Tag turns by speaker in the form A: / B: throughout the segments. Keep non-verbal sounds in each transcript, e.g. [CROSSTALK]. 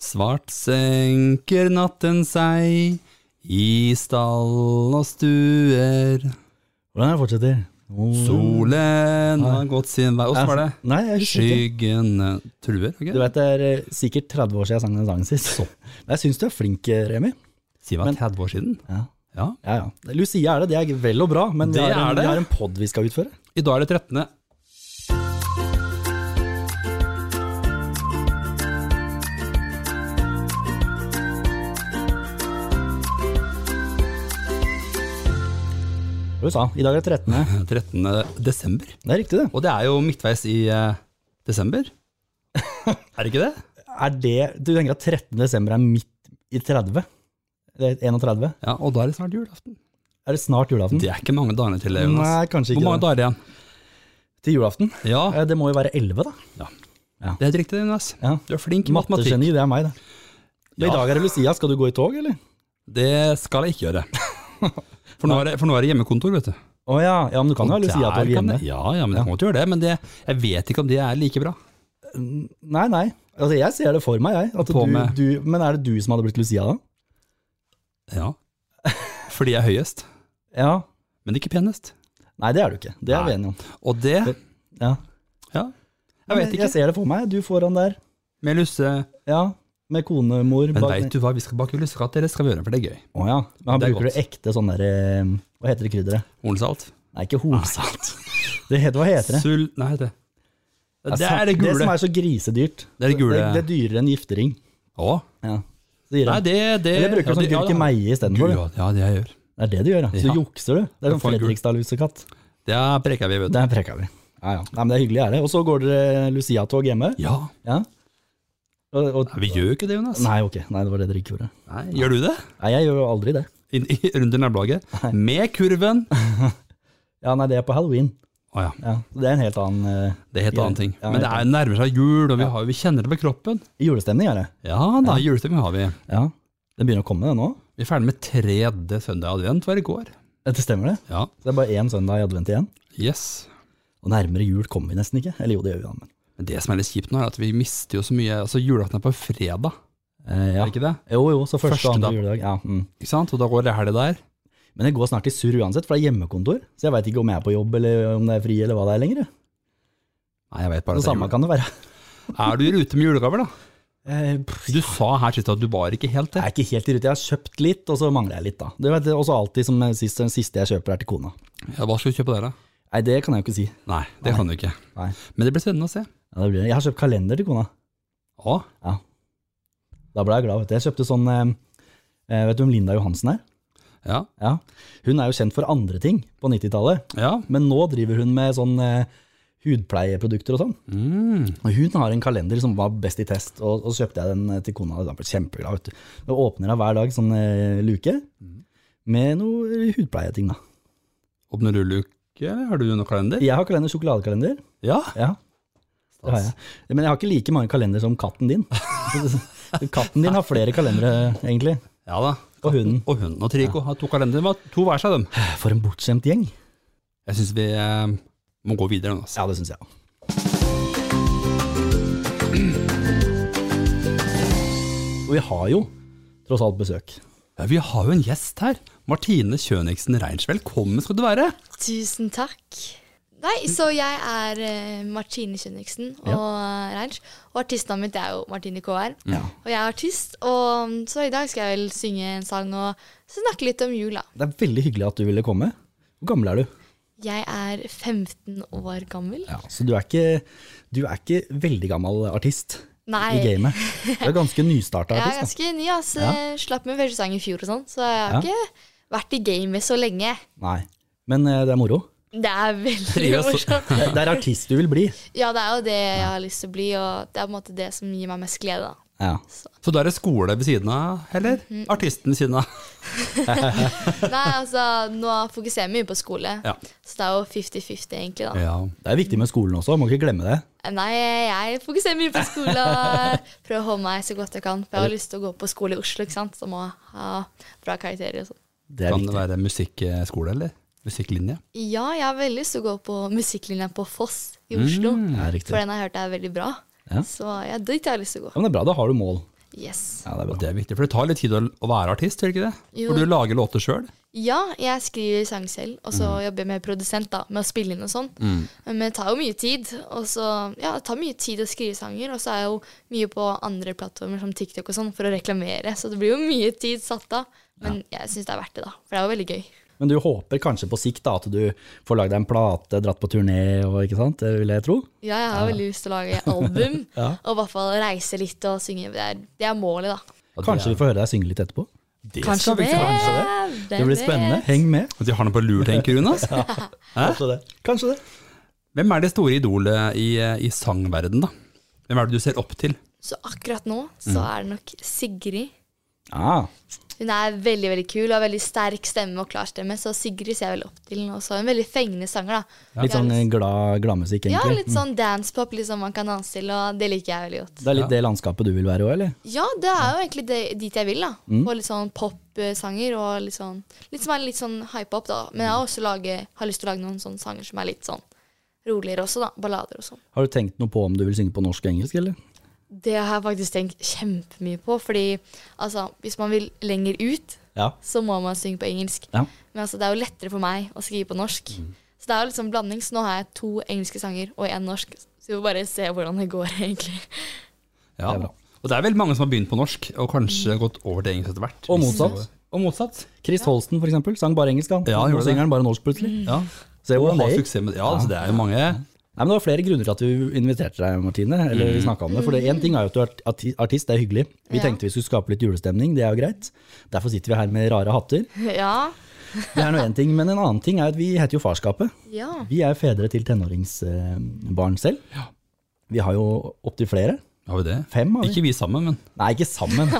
A: Svart senker natten seg i stall og stuer.
B: Hvordan er det fortsetter? Oh.
A: Solen har gått sin vei. Åssen var det?
B: Nei, jeg husker ikke.
A: Skyggene truer. ok?
B: Du vet, Det er eh, sikkert 30 år siden jeg sang den sangen sist. [LAUGHS] Men jeg syns du er flink, eh, Remi.
A: Si hva, 30 år siden?
B: Ja.
A: Ja.
B: Ja, ja. Lucia er det, det er vel og bra, men vi
A: Det
B: har en,
A: er det.
B: vi har en pod vi skal utføre.
A: I dag er det 13.
B: Hva Du sa, i dag er
A: [LAUGHS]
B: det 13.
A: 13. desember.
B: Det er riktig, det.
A: Og det er jo midtveis i eh,
B: [LAUGHS]
A: desember. er det ikke det?
B: Er det du tenker at 13. desember er midt i 30? Det er 31?
A: Ja, Og da er det snart julaften.
B: Er det snart julaften?
A: Det er ikke mange dagene til det, Jonas.
B: Mm. Nei, kanskje
A: Hvor
B: ikke.
A: mange
B: det.
A: dager igjen?
B: Til julaften?
A: Ja,
B: Eh, Det må jo være 11, da.
A: det er helt riktig, Jonas.
B: Ja.
A: Du er flink i matematikk.
B: Mattegeni, det er meg, det.
A: Ja.
B: Men I dag er det Lucia. Skal du gå i tog, eller?
A: Det skal jeg ikke gjøre. [LAUGHS] For nå er det, for nå er det hjemmekontor, vet du.
B: Å ja. ja, men du kan jo ha
A: Og der
B: Lucia-tog
A: kan
B: hjemme.
A: det- Ja, ja, men jeg kommer til å gjøre det. Men det, jeg vet ikke om det er like bra.
B: Nei, nei. Altså, jeg ser det for meg, jeg. At
A: På
B: du,
A: med-
B: du, men er det du som hadde blitt Lucia, da?
A: Ja. [LAUGHS] Fordi jeg er høyest,
B: Ja.
A: men ikke penest.
B: Nei, det er du ikke. Det er
A: Nei.
B: vi enige om.
A: Og det
B: Ja.
A: Ja, jeg vet
B: Jeg
A: ikke.
B: ser det for meg. Du foran der.
A: Med lusse
B: Ja. Med konemor
A: Men veit du hva, vi skal bake lussekatt, dere skal vi gjøre, for det er gøy.
B: Å ja. Men han
A: Det er
B: bruker
A: godt.
B: du ekte sånn der eh, Hva heter det krydderet?
A: Hornsalt.
B: Nei, ikke hornsalt. [LAUGHS] Det heter, hva heter det?
A: Sull... Nei, det Det er det
B: Det som
A: gule.
B: er så grisedyrt.
A: Det er det gule.
B: Det, det er dyrere enn giftering.
A: Å.
B: Ja. Så gir
A: Nei,
B: han.
A: det, det
B: Eller bruker du sånn
A: ja, det-
B: gurke meie istedenfor. du.
A: Ja, ja, det jeg gjør.
B: Det er det du gjør, ja. Så
A: Ja.
B: jukser du. Det er sånn
A: får en gul-
B: Fredrikstad-lusekatt.
A: Det preker vi, vet du.
B: Der preka vi. Ja, ja. Nei, men det er hyggelig, er det. Og så går dere Lucia-tog hjemme.
A: Ja,
B: Ja. Og, og,
A: vi gjør jo ikke det, Jonas.
B: nei, ok. Nei, det var det dere ikke gjorde.
A: Nei, Gjør du det?
B: Nei, jeg gjør jo aldri det.
A: Inn i, rundt i nabolaget? Med kurven? Å
B: Ja, nei, det er på halloween.
A: ja,
B: Ja, så det er en helt annen eh,
A: det er helt annen ting.
B: Ja,
A: Men det er nærmer seg jul, og vi, har, vi kjenner det på kroppen.
B: julestemning, er det.
A: Ja da, julestemning har vi.
B: Ja. Den begynner å komme, den nå.
A: Vi er ferdig med tredje søndag i advent, var i går.
B: Det stemmer det.
A: Ja,
B: Så det er bare én søndag i advent igjen.
A: yes.
B: Og nærmere jul kommer vi nesten ikke. Eller jo, det gjør vi da, men
A: Men det som er litt kjipt nå, er at vi mister jo så mye Altså, julaften er på fredag,
B: eh, ja.
A: er det ikke det?
B: Jo, jo, så første,
A: Første
B: og
A: da.
B: andre juledag. Ja, mm.
A: Ikke sant? Og da går det helg der.
B: Men det går snart i surr uansett, for det er hjemmekontor. Så jeg veit ikke om jeg er på jobb, eller om det er fri, eller hva det er lenger. jeg.
A: Nei, jeg vet bare at
B: Det
A: det er
B: samme
A: jul.
B: kan det være.
A: Er du i rute med julegaver,
B: [LAUGHS]
A: da?
B: Eh, pff,
A: Du sa her sist at du var ikke helt
B: Jeg
A: det.
B: er ikke helt i rute. Jeg har kjøpt litt, og så mangler jeg litt, da. Du vet, også alltid som sist, den siste jeg kjøper, er til kona.
A: Ja, hva skal du kjøpe der, da?
B: Nei, det kan jeg jo ikke si.
A: Nei, det kan du ikke.
B: Nei.
A: Men det blir spennende å se.
B: Ja, det blir det. Jeg har kjøpt kalender til kona.
A: Å,
B: Da ble jeg glad, vet du. Jeg kjøpte sånn eh, eh, Vet du hvem Linda Johansen er?
A: ja.
B: Ja. Hun er jo kjent for andre ting på 90-tallet,
A: Ja.
B: men nå driver hun med sånn eh, hudpleieprodukter og sånn.
A: Mm.
B: Og hun har en kalender som var best i test, og, og så kjøpte jeg den eh, til kona. og Da ble jeg kjempeglad, vet du. Da åpner jeg hver dag sånn eh, luke med noe hudpleieting, da.
A: Åpner du luke, eller har du noen kalender?
B: Jeg har kalender, sjokoladekalender.
A: Ja.
B: Ja, det har jeg. Men jeg har ikke like mange kalender som katten din. [LAUGHS] Katten din har flere kalendere, egentlig.
A: Ja da.
B: Og hunden.
A: Og hunden og Trico har to kalendere. hva? To hver seg, av dem.
B: For en bortskjemt gjeng.
A: Jeg syns vi eh, må gå videre nå. Altså.
B: Ja, det syns jeg òg. Og vi har jo tross alt besøk.
A: Ja, vi har jo en gjest her. Martine Kjøniksen Reins. Velkommen skal du være.
C: Tusen takk. Nei, så jeg er eh, Martine Kjønniksen og Reinsch. Og artistnavnet mitt er jo Martine KR. Og jeg er artist, og mm, så i dag skal jeg vel synge en sang og snakke litt om jula.
B: Det er veldig hyggelig at du ville komme. Hvor gammel er du?
C: Jeg er 15 år gammel.
B: Ja, så du er ikke, du er ikke veldig gammel artist
C: Nei,
B: i
C: jeg
B: gamet. Du er ganske nystarta
C: [LAUGHS] er
B: artist.
C: ganske ny. ass.
B: Ja.
C: Jeg Slapp min første sang i fjor og sånn, så jeg
B: Ja.
C: har ikke vært i gamet så lenge.
B: Da. Nei. Men eh, det er moro.
C: Det er
B: [LAUGHS]
C: veldig
A: Trives.
C: morsomt.
B: Det det er artist du vil bli.
C: Ja, det er jo det jeg har lyst til å bli, og det er på en måte det som gir meg mest glede. da.
B: Ja.
A: Så da er det skole ved siden av, eller?
C: Mhm.
A: Artisten ved siden av.
C: Nei, altså, nå fokuserer jeg mye på skole,
A: Ja.
C: så det er jo 50-50 egentlig, da.
A: Ja.
B: Det er viktig med skolen også, må ikke glemme det.
C: Nei, jeg fokuserer mye på skole og
B: [LAUGHS]
C: prøver å holde meg så godt jeg kan, for jeg har lyst til å gå på skole i Oslo, ikke sant, så må jeg ha bra karakterer og sånn.
B: Det er
A: Kan det
B: viktig.
A: være musikkskole, eller? Musikklinje?
C: Ja, jeg har veldig lyst til å gå på musikklinja på Foss i Oslo,
B: Mm, Ja, riktig.
C: for den har jeg hørt er veldig bra.
B: Ja.
C: Så ja, dit har jeg lyst til å
B: Ja,
C: gå.
B: men det er bra, da har du mål.
C: Yes.
B: Ja, det er
A: Og
B: bra.
A: Det er viktig, for det tar litt tid å å være artist, gjør det ikke det?
C: Jo.
A: For du lager låter sjøl.
C: Ja, jeg skriver sang selv, og så jobber jeg med produsent da, med å spille inn og sånn. Men det tar jo mye tid. Og så, ja, det tar mye tid å skrive sanger, og så er jeg jo mye på andre plattformer som TikTok og sånn for å reklamere, så det blir jo mye tid satt av. Men jeg syns det er verdt det, da. For det er jo veldig gøy.
B: Men du håper kanskje på sikt da, at du får lagd deg en plate, dratt på turné og ikke sant? Det vil jeg tro.
C: Ja, jeg har veldig lyst til å lage album,
B: Ja.
C: og i hvert fall reise litt og synge. Det er, det er målet, da.
B: Kanskje vi får høre deg synge litt etterpå.
A: Det skal vi ikke ha.
B: kanskje
C: det.
B: Det blir
C: Hvem
B: spennende.
C: vet?
B: Heng med.
A: De har noe på lur, tenker hun.
C: [LAUGHS]
A: Altså.
B: Kanskje det. Kanskje det.
A: Hvem er det store idolet i, i sangverden da? Hvem er det du ser opp til?
C: Så akkurat nå så er det nok Sigrid.
B: Ah,
C: Hun er veldig veldig kul og har veldig sterk stemme og klar stemme, så Sigrid ser jeg veldig opp til. Og så er hun veldig fengende sanger, da.
B: litt sånn eh, glad gladmusikk,
C: Ja,
B: egentlig.
C: litt sånn dancepop liksom man kan danse til, og det liker jeg veldig godt.
B: Det er litt det landskapet du vil være òg, eller?
C: Ja, det er jo egentlig det, dit jeg vil, da.
B: Mm.
C: Få litt sånn popsanger og litt sånn Litt som er litt sånn hype opp, da. Men jeg har også lage, har lyst til å lage noen sånne sanger som er litt sånn roligere også, da. Ballader og sånn.
B: Har du tenkt noe på om du vil synge på norsk og engelsk, eller?
C: Det har jeg faktisk tenkt kjempemye på, fordi altså, hvis man vil lenger ut,
B: Ja.
C: så må man synge på engelsk.
B: Ja.
C: Men altså, det er jo lettere for meg å skrive på norsk. Så det er jo liksom blanding. Så nå har jeg to engelske sanger og én norsk. Så vi får bare se hvordan det går, [LAUGHS] egentlig.
A: Ja.
B: Det er bra.
A: Og det er veldig mange som har begynt på norsk, og kanskje gått over til engelsk etter hvert.
B: Og
A: Hvis-
B: motsatt.
A: Og motsatt.
B: Chris Holsten, for eksempel, sang bare engelsk, han.
A: Ja, han
B: Nå
A: gjorde det.
B: synger han bare norsk, plutselig.
C: Mm.
A: Ja.
B: Se
A: Og
B: hvordan
A: har
B: det gikk.
A: suksess med det. Ja, altså, det er jo mange.
B: Nei, men Det var flere grunner til at du inviterte deg, Martine. Eller vi snakket om det, for det Én ting er jo at du er arti- artist, det er hyggelig. Vi
C: Ja.
B: tenkte vi skulle skape litt julestemning, det er jo greit. Derfor sitter vi her med rare hatter.
C: Ja.
B: Det er noe en ting, Men en annen ting er at vi heter jo Farskapet.
C: ja.
B: Vi er fedre til tenåringsbarn selv. Vi har jo opptil flere.
A: Har vi det?
B: Fem har vi.
A: Ikke vi sammen, men
B: Nei, ikke sammen. [LAUGHS]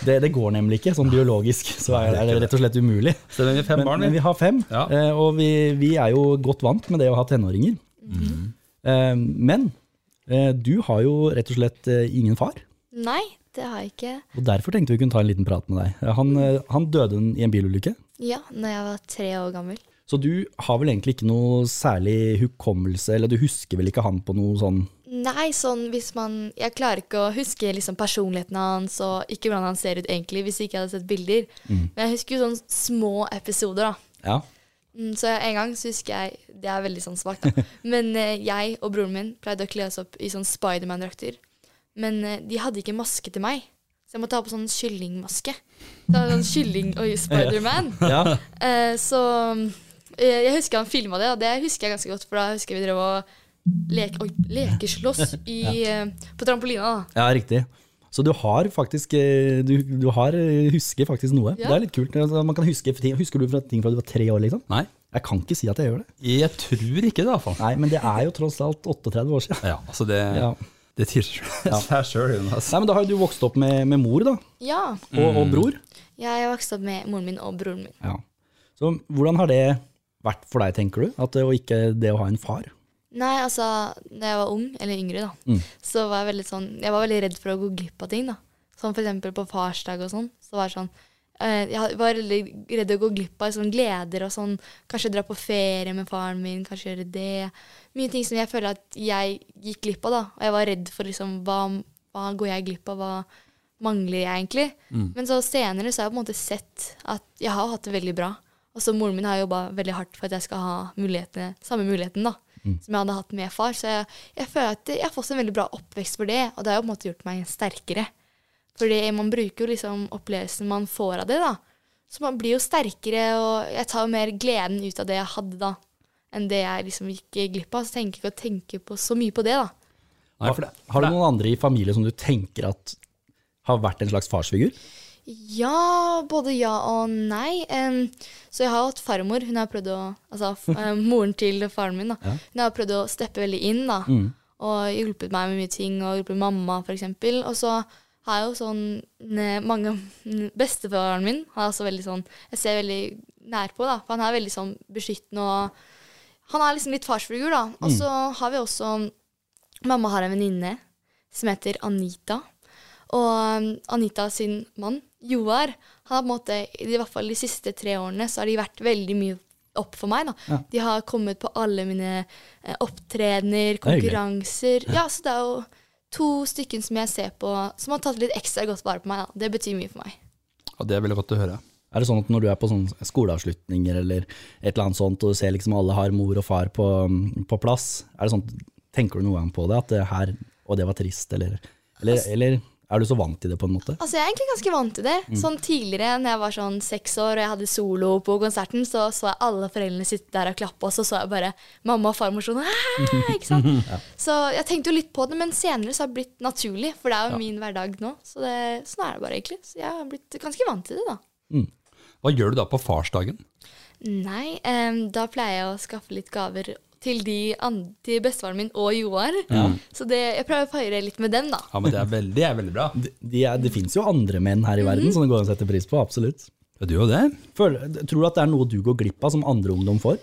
B: Det, det går nemlig ikke. Sånn biologisk så er er det rett og slett umulig.
A: Så det er fem
B: Men,
A: barn, vi.
B: men vi har fem,
A: Ja.
B: eh, og vi, vi er jo godt vant med det å ha tenåringer.
A: Mhm.
B: Eh, Men eh, du har jo rett og slett eh, ingen far,
C: Nei, det har jeg ikke.
B: og derfor tenkte vi kunne ta en liten prat med deg. Eh, Han, eh, han døde i en bilulykke,
C: Ja, når jeg var tre år gammel.
B: så du har vel egentlig ikke noe særlig hukommelse, eller du husker vel ikke han på noe sånn
C: Nei, sånn hvis man Jeg klarer ikke å huske liksom personligheten hans og ikke hvordan han ser ut egentlig, hvis ikke jeg hadde sett bilder. Men jeg husker jo sånne små episoder, da.
B: Ja,
C: Mm, Så en gang så husker jeg Det er veldig sånn svakt, da. Men eh, jeg og broren min pleide å kle oss opp i sånn Spiderman-drakter. Men eh, de hadde ikke maske til meg, så jeg måtte ha på sånn kyllingmaske. Så jeg hadde sånn kylling og Spiderman.
B: ja.
C: Eh, så eh, jeg husker han filma det, og det husker jeg ganske godt, for da husker jeg vi drev og lek, oi, lekeslåss i, eh, på trampolina. da.
B: [LAUGHS] Ja, riktig. Så du har faktisk eh, Du, du har, eh, husker faktisk noe.
C: Ja.
B: Det er litt kult. Altså, Man kan huske ting. Husker du fra ting fra du var tre år, liksom?
A: Nei.
B: Jeg kan ikke si at jeg gjør det.
A: Jeg tror ikke det, i hvert fall.
B: Nei, men det er jo tross alt 38 år siden.
A: Ja, altså det,
B: Ja.
A: det sier seg sjøl, Jonas.
B: Nei, men da har jo du vokst opp med, med mor, da.
C: Ja.
B: Og,
A: Mm.
B: og bror.
C: Jeg vokste opp med moren min og broren min.
B: Ja. Så hvordan har det vært for deg, tenker du? At, eh, og ikke det å ha en far?
C: Nei, altså, da jeg var ung, eller yngre, da, så var jeg veldig sånn Jeg var veldig redd for å gå glipp av ting, da. Som for eksempel på farsdag og sånn. Så var det sånn eh, Jeg var veldig redd å gå glipp av sånn gleder og sånn Kanskje dra på ferie med faren min, kanskje gjøre det. Mye ting som jeg føler at jeg gikk glipp av, da. Og jeg var redd for liksom Hva, hva går jeg glipp av? Hva mangler jeg egentlig? Men så senere så har jeg på en måte sett at jeg har hatt det veldig bra. Og så moren min har jobba veldig hardt for at jeg skal ha mulighetene, samme muligheten da, som jeg hadde hatt med far. Så jeg, jeg føler at jeg har fått en veldig bra oppvekst for det, og det har jo på en måte gjort meg sterkere. Fordi man bruker jo liksom opplevelsen man får av det, da. Så man blir jo sterkere, og jeg tar jo mer gleden ut av det jeg hadde da, enn det jeg liksom gikk glipp av. Så tenker jeg ikke å tenke på så mye på det, da.
A: Nei, for det,
B: Har du noen andre i familien som du tenker at har vært en slags farsfigur?
C: Ja, både ja og nei. Em, så jeg har hatt farmor. Hun har prøvd å, altså f- eh, Moren til faren min. da. Hun har prøvd å steppe veldig inn da, og hjulpet meg med mye ting. Og hjulpet mamma, f.eks. Og så har jeg jo sånn ne, [LAUGHS] mange Bestefaren min har også veldig sånn Jeg ser veldig nær på, da. For han er veldig sånn beskyttende og Han er liksom litt farsfigur, da. Og så har vi også um, Mamma har en venninne som heter Anita. Og um, Anita sin mann, Joar, han har på en måte, i hvert fall de siste tre årene, så har de vært veldig mye opp for meg. da. De har kommet på alle mine eh, opptredener,
B: hyggelig.
C: konkurranser. Ja, så det er jo to stykken som jeg ser på som har tatt litt ekstra godt vare på meg. Da. Det betyr mye for meg.
A: Og det er veldig godt å høre.
B: Er det sånn at når du er på sånne skoleavslutninger eller et eller annet sånt, og du ser liksom alle har mor og far på, på plass, er det sånn, tenker du noen gang på det? At det her, og det var trist, eller, eller, eller er du så vant til det på en måte?
C: Altså, Jeg er egentlig ganske vant til det. Sånn Tidligere, når jeg var sånn seks år og jeg hadde solo på konserten, så så jeg alle foreldrene sitte der og klappe, og så så jeg bare mamma og farmor sånn «Æ!» ikke sant? Så jeg tenkte jo litt på det, men senere så har det blitt naturlig, for det er jo min hverdag nå. Så det, sånn er det bare, egentlig. Så jeg har blitt ganske vant til det, da.
A: Hva gjør du da på farsdagen?
C: Nei, em, da pleier jeg å skaffe litt gaver til, de an- til bestefaren min og Joar. Så det, jeg prøver å feire litt med dem, da.
A: Ja, men Det er veldig, det er veldig bra.
B: Det, de er, det finnes jo andre menn her i verden som det går an å sette pris på, absolutt.
A: Det gjør jo det.
B: Føler, tror du at det er noe du går glipp av som andre ungdom får?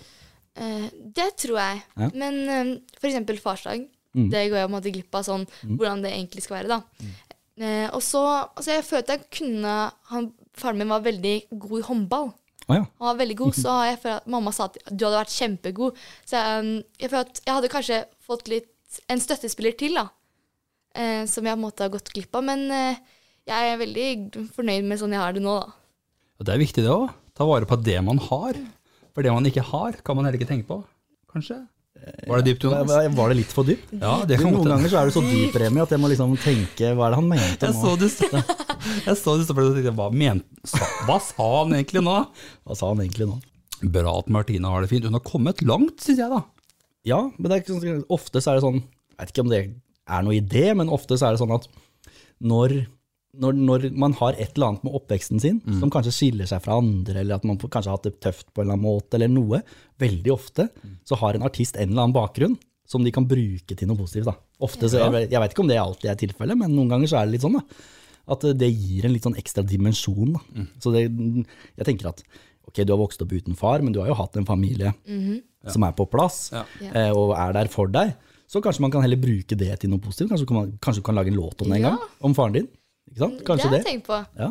C: Eh, det tror jeg.
B: Ja. Mm.
C: Men um, for eksempel farsdag. Det går jeg på en måte glipp av sånn, hvordan det egentlig skal være. da.
B: Mm.
C: Eh, og så, altså Jeg følte jeg kunne han, Faren min var veldig god i håndball.
B: Å ja.
C: Han var veldig god, så har jeg følt at mamma sa at du hadde vært kjempegod. Så um, jeg føler at jeg hadde kanskje fått litt en støttespiller til, da. Eh, som jeg på en måte har gått glipp av. Men eh, jeg er veldig fornøyd med sånn jeg har det nå, da.
A: Og Det er viktig det òg. Ta vare på det man har. For det man ikke har, kan man heller ikke tenke på. Kanskje? Var det dypt, Jonas?
B: Var Eh, var det litt for dypt?
A: Ja, det kan
B: Noen
A: godt hende.
B: ganger så er du så dyp, Remi, at jeg må liksom tenke hva er det han mente
A: Jeg
B: nå?
A: så du sto jeg så du sto på det og tenkte hva, men, sa, hva sa han egentlig nå?
B: Hva sa han egentlig nå?
A: Bra at Martine har det fint. Hun har kommet langt, syns jeg, da.
B: Ja, men det er ikke sånn, ofte så er det sånn Jeg vet ikke om det er noe idé, men ofte så er det sånn at når, når, når man har et eller annet med oppveksten sin, som kanskje skiller seg fra andre, eller at man får- kanskje har hatt det tøft på en eller annen måte, eller noe, veldig ofte så har en artist en eller annen bakgrunn som de kan bruke til noe positivt. Da. Ofte så, jeg, jeg vet ikke om det alltid er tilfellet, men noen ganger så er det litt sånn. da at det gir en litt sånn ekstra dimensjon. Da.
A: Mm.
B: Så det, jeg tenker at ok, du har vokst opp uten far, men du har jo hatt en familie som er på plass
A: Ja.
C: Mhm. Ja.
B: eh, og er der for deg. Så kanskje man kan heller bruke det til noe positivt. Kanskje, kan man, kanskje du kan lage en låt om det en
C: Ja. Mm,
B: gang, om faren din. Ikke sant? Kanskje
C: det har
B: det.
C: jeg tenkt på.
B: Ja.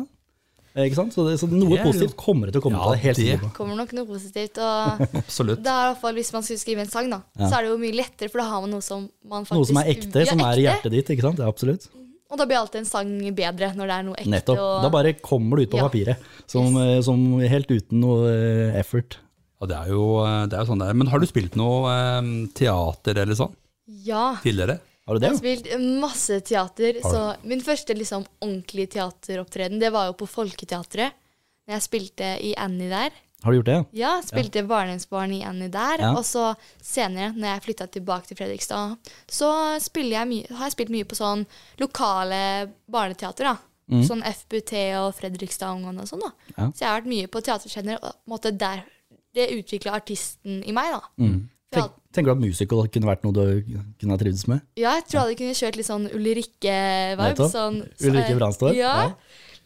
B: Eh, Ikke sant? Så, det, så noe
A: Det er jo-
B: positivt kommer det til å
A: Ja,
B: komme ut av det. Helt
A: det-
B: sikker på.
C: Kommer nok noe positivt. og...
B: [LAUGHS]
A: Absolutt.
C: Da er det i hvert fall Hvis man skulle skrive en sang, da, så er det jo mye lettere, for da har man noe som man faktisk
B: Noe som er ekte,
C: Ja,
B: som er i
C: ekte. Mm.
B: hjertet ditt. Ikke sant? Ja, absolutt.
C: Og da blir alltid en sang bedre når det er noe ekte.
B: Nettopp.
C: Og,
B: Da bare kommer det ut på
C: Ja.
B: papiret, som, eh, som helt uten noe eh, effort.
A: Ja, det er jo, det er jo sånn det er. Men har du spilt noe eh, teater eller sånn
C: Ja.
A: tidligere?
B: Har du
C: Jeg
B: det?
C: har spilt masse teater, så min første liksom ordentlige teateropptreden, det var jo på Folketeatret. Jeg spilte i Annie der.
B: Har du gjort det?
C: Ja, spilte barnehjemsbarn i Annie der.
B: Ja.
C: Og så senere, når jeg flytta tilbake til Fredrikstad, så spiller jeg mye, har jeg spilt mye på sånn lokale barneteater. da. Sånn FBT og Fredrikstad-ungene og sånn. da.
B: Mm. Ja.
C: Så jeg har vært mye på teaterscener, og på en måte der det utvikla artisten i meg. da. For jeg
B: Mm. Tenk,
C: hadde-
B: tenker du at musical kunne vært noe du kunne ha trivdes med?
C: ja, jeg tror jeg hadde kunnet kjørt litt sånn Ulrikke-vibe.
B: Nettopp.
C: Sånn,
B: Ulrikke Brandstorp,
C: Ja.
B: ja.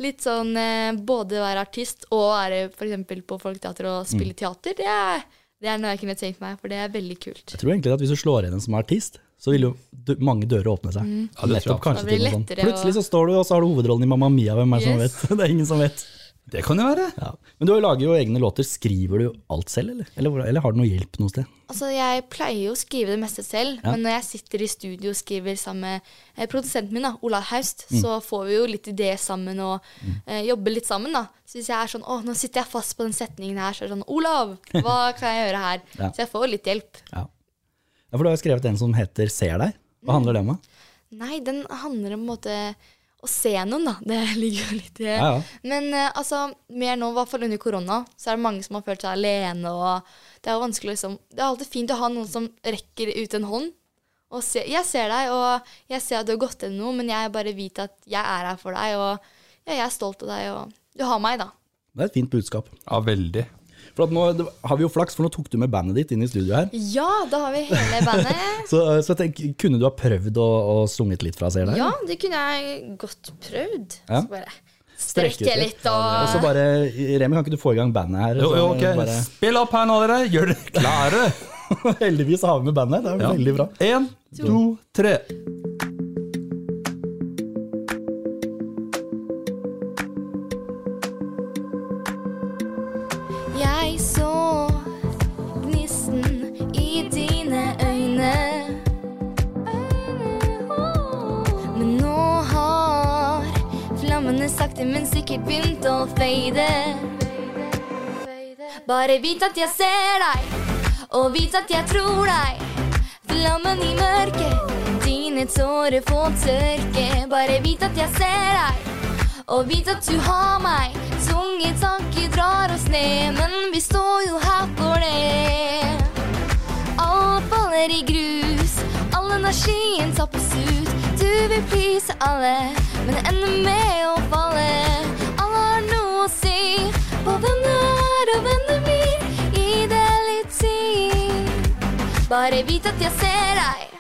C: Litt sånn eh, både være artist og være f.eks. på Folketeater
B: Mm.
C: og spille teater. Det er, det er noe jeg kunne tenkt meg, for det er veldig kult.
B: Jeg tror egentlig at hvis du slår igjen en som er artist, så vil jo dø mange dører åpne seg.
A: Ja, det tror jeg
B: Nettopp kanskje
C: Det Mm. blir
B: til noe sånt.
C: lettere å-
B: Plutselig så står du, og så har du hovedrollen i Mamma Mia. Hvem er det
C: Yes.
B: som vet? [LAUGHS] Det er ingen som vet.
A: Det kan jo være.
B: Ja. Men du lager jo egne låter. Skriver du alt selv, eller? Eller, hvor- eller har du noe hjelp noe sted?
C: Altså, Jeg pleier jo å skrive det meste selv,
B: Ja.
C: men når jeg sitter i studio og skriver sammen med eh, produsenten min, da, Olav Haust,
B: Mm.
C: så får vi jo litt ideer sammen og eh, jobber litt sammen. da. Så hvis jeg er sånn 'Å, nå sitter jeg fast på den setningen her', så er det sånn 'Olav, hva kan jeg gjøre her?'
B: Ja.
C: Så jeg får jo litt hjelp.
B: Ja. ja, for du har jo skrevet en som heter Ser deg. Hva handler det om? da?
C: Nei, den handler om på en måte å se noen, da. Det [LAUGHS] ligger jo litt i det.
B: Ja, ja.
C: Men eh, altså, mer nå, i hvert fall under korona, så er det mange som har følt seg alene, og det er jo vanskelig å liksom Det er alltid fint å ha noen som rekker ut en hånd. Og se, jeg ser deg, og jeg ser at du har gått gjennom noe, men jeg bare vet at jeg er her for deg, og ja, jeg er stolt av deg, og du har meg, da.
B: Det er et fint budskap.
A: Ja, veldig.
B: For at nå det- har vi jo flaks, for nå tok du med bandet ditt inn i studio her.
C: Ja, da har vi
B: [LAUGHS]
C: hele bandet.
B: Så, så jeg tenker, kunne du ha prøvd å, å sunget litt fra Ser deg?
C: Ja, det kunne jeg godt prøvd.
B: Ja.
C: Så bare strekke
B: Strekke litt.
C: litt og
B: Og så bare, Remi, kan ikke du få i gang bandet her?
A: Jo,
B: Så
A: jo, ok.
B: bare, [LAUGHS]
A: Spill opp her nå, dere. Gjør dere klare.
B: heldigvis har vi med bandet, det er
A: Ja.
B: veldig bra.
A: Én, to, tre.
C: Jeg så gnisten i dine øyne. flammene sakte, men sikkert begynt å fade. Bare vit at jeg ser deg, og vit at jeg tror deg. Flammen i mørket, dine tårer få tørke. Bare vit at jeg ser deg, og vit at du har meg. Tunge tanker drar oss ned, men vi står jo her for det. Alt faller i grus, all energien tappes ut. Du vil please alle, men det ender med å falle. Alle har noe å si på hvem du er og hvem du blir. Gi det litt tid. Bare vit at jeg ser deg.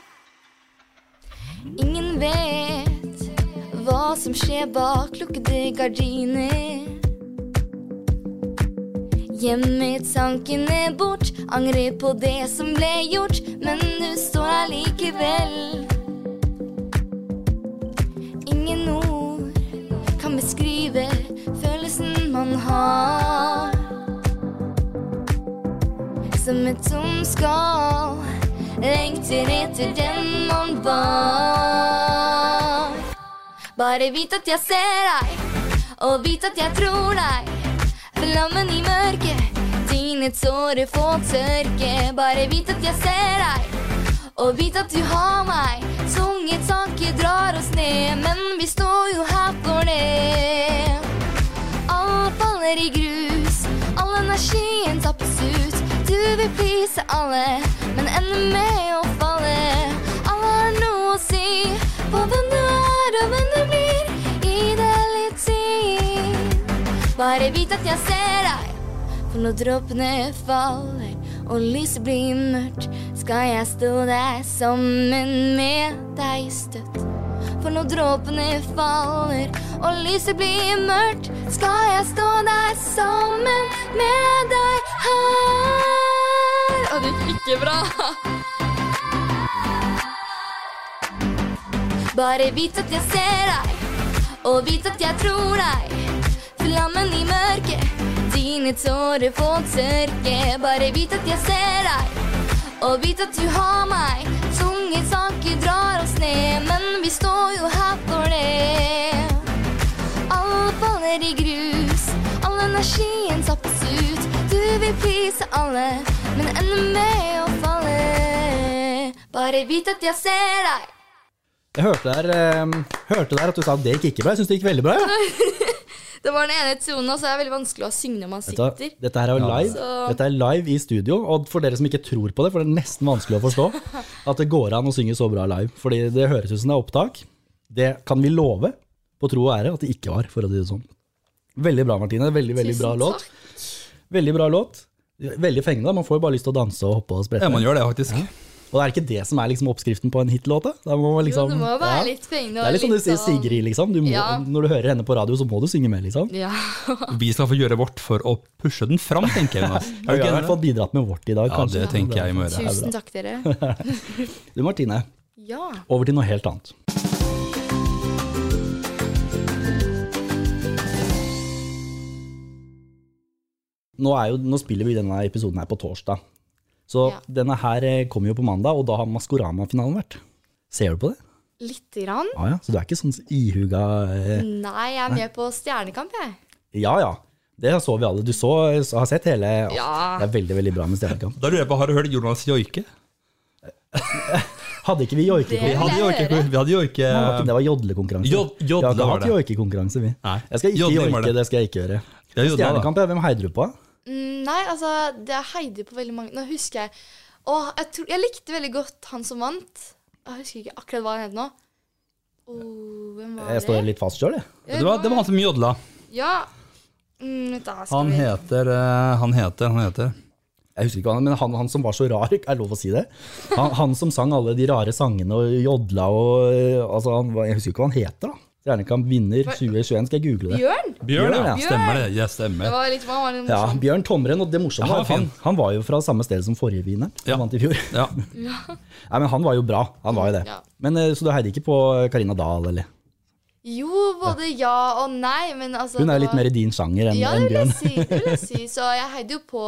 C: Ingen vet hva som skjer bak lukkede gardiner. Gjemmer tankene bort, angrer på det som ble gjort, men du står her likevel. Ingen ord kan beskrive følelsen man har. Som et tomt skall lengter etter den man var. Bare vit at jeg ser deg, og vit at jeg tror deg. Flammen i mørket, dine tårer får tørke. Bare vit at jeg ser deg, og vit at du har meg. Tunge tanker drar oss ned, men vi står jo her for det. Alt faller i grus, all energien tappes ut. Du vil please alle, men ender med å falle. Alle har noe å si på hvem du er og hvem du blir. Gi det litt tid. Bare vit at jeg ser deg. For når dråpene faller og lyset blir mørkt, skal jeg stå der sammen med deg støtt. For når dråpene faller og lyset blir mørkt, skal jeg stå der sammen med deg her. Og det gikk ikke bra. Bare vit at jeg ser deg, og vit at jeg tror deg. Flammen i mørket, dine tårer får tørke. Bare vit at jeg ser deg, og vit at du har meg. Tunge tanker drar oss ned, men vi står jo her for det. Alt faller i grus, all energien tappes ut. Du vil please alle, men ender med å falle. Bare vit at jeg ser deg.
B: Jeg hørte der, eh, hørte der at du sa at det gikk ikke bra. Jeg syns det gikk veldig bra. Ja.
D: Det var den ene tonen, og så er det veldig vanskelig å synge når man
B: Dette,
D: sitter.
B: dette her er jo live
D: Så-
B: Dette er live i studio, og for dere som ikke tror på det, for det er nesten vanskelig å forstå
D: [LAUGHS]
B: at det går an å synge så bra live. Fordi det høres ut som det er opptak. Det kan vi love, på tro og ære, at det ikke var, for å si det sånn. Veldig bra, Martine. Veldig, veldig bra
D: Tusen
B: låt.
D: takk.
B: Veldig bra låt. Veldig fengende. Man får jo bare lyst til å danse og hoppe og
A: Ja,
B: sprette.
A: man gjør det faktisk.
B: Og det er ikke det som er liksom oppskriften på en hitlåt, da. da må man
D: Jo,
B: liksom,
D: det må jo være
B: Ja.
D: litt fengende.
B: Det er litt sånn du sier Sigrid, liksom. Du må,
D: Ja.
B: Når du hører henne på radio, så må du synge med, liksom.
D: Ja.
A: Vi skal få gjøre vårt for å pushe den fram, tenker
B: [LAUGHS]
A: jeg. Jonas.
B: Vi har i
A: Er du
B: hvert
A: ikke enig i
B: fall
A: det?
B: bidratt med vårt i dag,
A: Ja,
B: kanskje.
A: det tenker jeg må gjøre.
D: Tusen takk, dere.
B: [LAUGHS] Du, Martine.
D: Ja.
B: Over til noe helt annet. Nå, er jo, nå spiller vi denne episoden her på torsdag. Så
D: Ja.
B: denne her eh, kommer jo på mandag, og da har Maskorama-finalen vært. Ser du på det?
D: Lite grann.
B: Ja, ja. Så du er ikke sånn ihuga eh,
D: Nei, jeg er med på Stjernekamp, jeg.
B: Ja, ja. Det så vi alle. Du så, har sett hele
D: Ja.
B: Det er veldig, veldig bra med Stjernekamp.
A: Da lurer jeg på, Har du hørt Jonas joike?
B: Hadde ikke vi joikekonkurranse?
A: Vi hadde
D: jeg
A: joike.
D: høre.
A: Vi hadde joike.
B: Det var jodlekonkurranse.
A: Jod- jodle
B: vi har ikke
A: var
B: hatt
A: det.
B: joikekonkurranse, vi.
A: Nei.
B: Jeg skal ikke
A: Jodling var
B: joike,
A: det.
B: det skal jeg ikke gjøre.
A: Ja, jodla, da.
B: Stjernekamp, ja. Hvem heider du på?
D: Mm, Nei, altså, det er Heidi på veldig mange Nå husker jeg Å, jeg, tror, jeg likte veldig godt han som vant. Jeg husker ikke akkurat hva han het nå. Å, hvem var
B: Jeg står
D: det?
B: litt fast sjøl, jeg.
D: Ja,
A: Det var, det var han som jodla.
D: Ja. Mm, vent da, skal
A: Han
D: vi-
A: heter, eh, han heter, han heter
B: Jeg husker ikke hva han, men han, han som var så rar, [LAUGHS] er det lov å si det? Han, han som sang alle de rare sangene og jodla og eh, altså, han, var- Jeg husker ikke hva han heter, da. Stjernekamp vinner 2021, skal jeg google det.
D: Bjørn?
A: Bjørn,
B: Bjørn,
A: ja.
B: ja.
A: Stemmer det. Ja,
D: Det
A: stemmer.
D: var litt, han var litt
B: Ja,
D: morsom.
B: Bjørn Tomren, og det morsomme
A: Ja,
B: var at han,
A: fin.
B: han var jo fra samme sted som forrige vinner.
A: Ja.
B: Han vant i fjor.
A: Ja.
B: Nei, men han var jo bra. Han var jo det.
D: Ja.
B: Men, eh, så du heide ikke på Karina Dahl, eller?
D: Jo, både ja og nei, men altså
B: Hun er jo
D: det
B: litt
D: var-
B: mer i din sjanger enn
D: Ja, det
B: enn
D: vil
B: Bjørn.
D: jeg si. Det vil jeg si. Så jeg heide jo på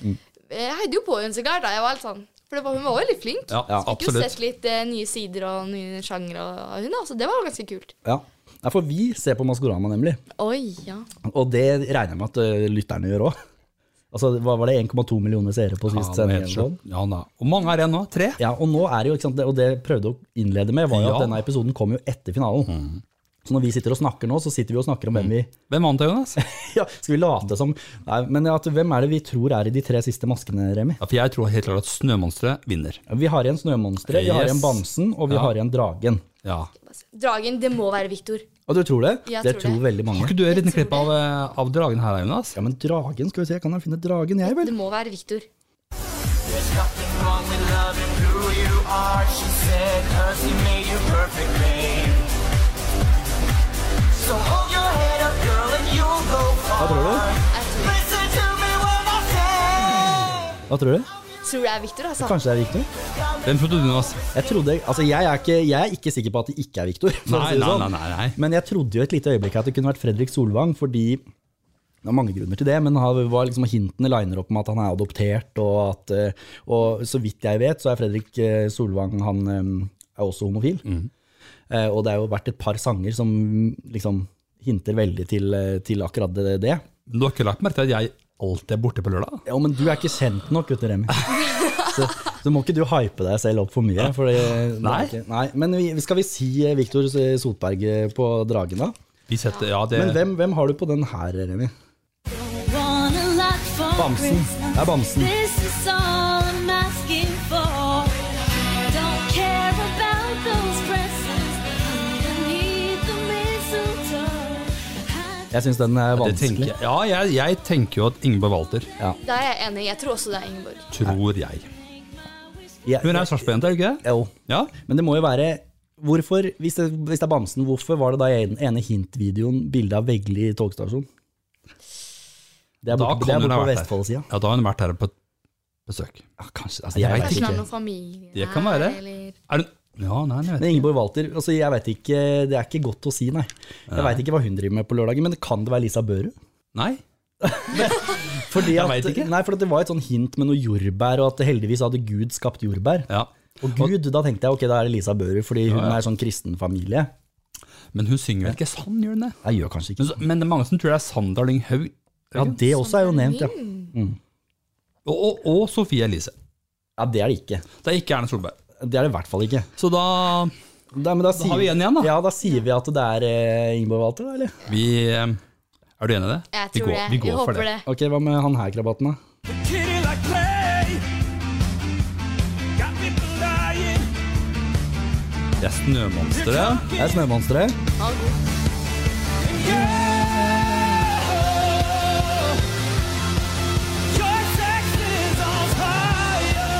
D: Jeg heide jo på hun så klart, da. Jeg var helt sånn For det var, hun var veldig flink.
A: ja,
B: Ja.
D: Fikk jo
A: absolutt.
D: sett litt eh, nye sider og nye sjangere av hun, da, så det var jo ganske kult.
B: Ja. Nei, for vi ser på Maskorama, nemlig.
C: Oi, ja.
B: Og det regner jeg med at ø, lytterne gjør òg. [LAUGHS] Altså, hva var det 1,2 millioner seere på sist
A: Ja,
B: sending?
A: men
B: eller
A: helt
B: sånn?
A: sjukt. Ja, da. Hvor mange er igjen nå? Tre?
B: Ja, og nå er det jo, ikke sant, det- og det jeg prøvde å innlede med, var jo
A: Ja.
B: at
A: Mm.
B: denne episoden kom jo etter finalen. Så når vi sitter og snakker nå, så sitter vi og snakker om hvem vi [LAUGHS]
A: Hvem vant det, Jonas? Ja,
B: ja, Skal vi late som Nei, men at, hvem er det vi tror er i de tre siste maskene, Remi?
A: for jeg tror helt klart at Snømonsteret vinner.
B: Vi har igjen Snømonsteret, vi har
A: Yes.
B: igjen Bamsen, og vi
A: Ja.
B: har igjen Dragen.
A: Ja.
C: Dragen, det må være Viktor.
B: Og du tror det?
C: Jeg
B: det
C: tror
B: tror veldig
A: Har
B: mange.
A: ikke du en liten klipp av, eh, av dragen her, Jonas?
B: Ja, men Dragen, skal vi se, kan jeg finne Dragen, jeg, vel?
C: Det må være Viktor.
E: There's nothing wrong with loving who you are, she said, cause he made you perfect, babe. So hold your head up, girl, and you'll go far.
B: tror du?
E: Listen to me when I say.
B: Hva tror du?
C: Tror det er Viktor, altså.
B: Kanskje det er Viktor?
A: Hvem trodde du, Jonas?
B: Jeg trodde, altså jeg er, ikke, jeg er ikke sikker på at det ikke er Viktor. for å
A: Nei,
B: si det
A: nei,
B: sånn.
A: nei, nei, nei.
B: Men jeg trodde jo et lite øyeblikk at det kunne vært Fredrik Solvang, fordi det er mange grunner til det, men han var liksom hintene liner opp med at han er adoptert, og, at, eh, og så vidt jeg vet, så er Fredrik eh, Solvang han eh, er også homofil.
A: Mhm.
B: Eh, Og det har jo vært et par sanger som liksom hinter veldig til, eh, til akkurat det. det.
A: Men Du har ikke lagt merke til at jeg alltid er borte på lørdag?
B: Ja, men du er ikke kjent nok, vet du, Remi. Så, så må ikke du hype deg selv opp for mye. For det, det er
A: Nei.
B: Ikke, nei. Men vi, skal vi si Viktor Sotberg eh, på dragen, da?
A: Vi setter, ja, det,
B: Men hvem, hvem har du på den her, Remi? Bamsen. Det er Bamsen.
F: This is all I'm asking for. Don't care about those presents underneath the mistletoe. I
B: Jeg syns den er
A: det
B: vanskelig.
A: tenker, jeg- ja, jeg, jeg tenker jo at Ingeborg Walter
C: Da er jeg enig. Jeg tror også det er Ingeborg.
A: tror jeg.
B: Jeg-
A: Hun er sarpsborgjente, er hun ikke det?
B: Jo.
A: Ja.
B: Men det må jo være Hvorfor, hvis det, hvis det er Bamsen, hvorfor var det da i den ene hintvideoen bilde av Vegli i togstasjonen? Det
A: Da
B: er borte, det
A: kan
B: er
A: hun ha
B: borte på
A: vært der.
B: Vestfoldsida.
A: Ja, da har hun vært her på et besøk.
B: Ja, kanskje. Altså,
A: Jeg
B: jeg
A: vet
B: vet
C: Kanskje det er
B: ikke.
C: noen familie
A: Det kan være.
C: eller-
A: Er hun Ja, nei, nei, jeg vet
B: Men Ingeborg Walter, altså, jeg vet ikke, det er ikke godt å si, nei. Jeg veit ikke hva hun driver med på lørdagen, men kan det være Lisa Børud?
A: ikke. Nei? [LAUGHS]
B: Fordi
A: Jeg
B: at,
A: vet ikke.
B: Nei, for at det var et sånn hint med noe jordbær, og at heldigvis hadde Gud skapt jordbær.
A: Ja.
B: Og Gud, da tenkte jeg ok, da er det Lisa Børud, fordi hun er sånn kristen familie.
A: Men hun synger vel ikke sann, gjør hun det?
B: Jeg gjør kanskje
A: Men,
B: ikke
A: så- men det er mange som tror det er Sander Lynghaug.
B: Ja, det også er jo nevnt, ja.
A: Og, og, og Sofie Elise.
B: Ja, det er det ikke.
A: Det er ikke Erna Solberg.
B: Det er det i hvert fall ikke.
A: Så da
B: Da, men da,
A: har vi en igjen, da.
B: Ja, da sier vi at det er eh, Ingeborg Walter, da, eller?
A: Vi eh, Er du enig i det?
C: Jeg
A: vi
C: tror
A: går,
C: det.
A: Vi går
C: jeg
A: for
C: håper
A: det.
C: det.
B: Ok, hva med han her, krabaten, da?
E: Kitty like play. Got me lying.
A: Det er Snømonsteret.
B: Det er Snømonsteret.
E: Your sex is on fire.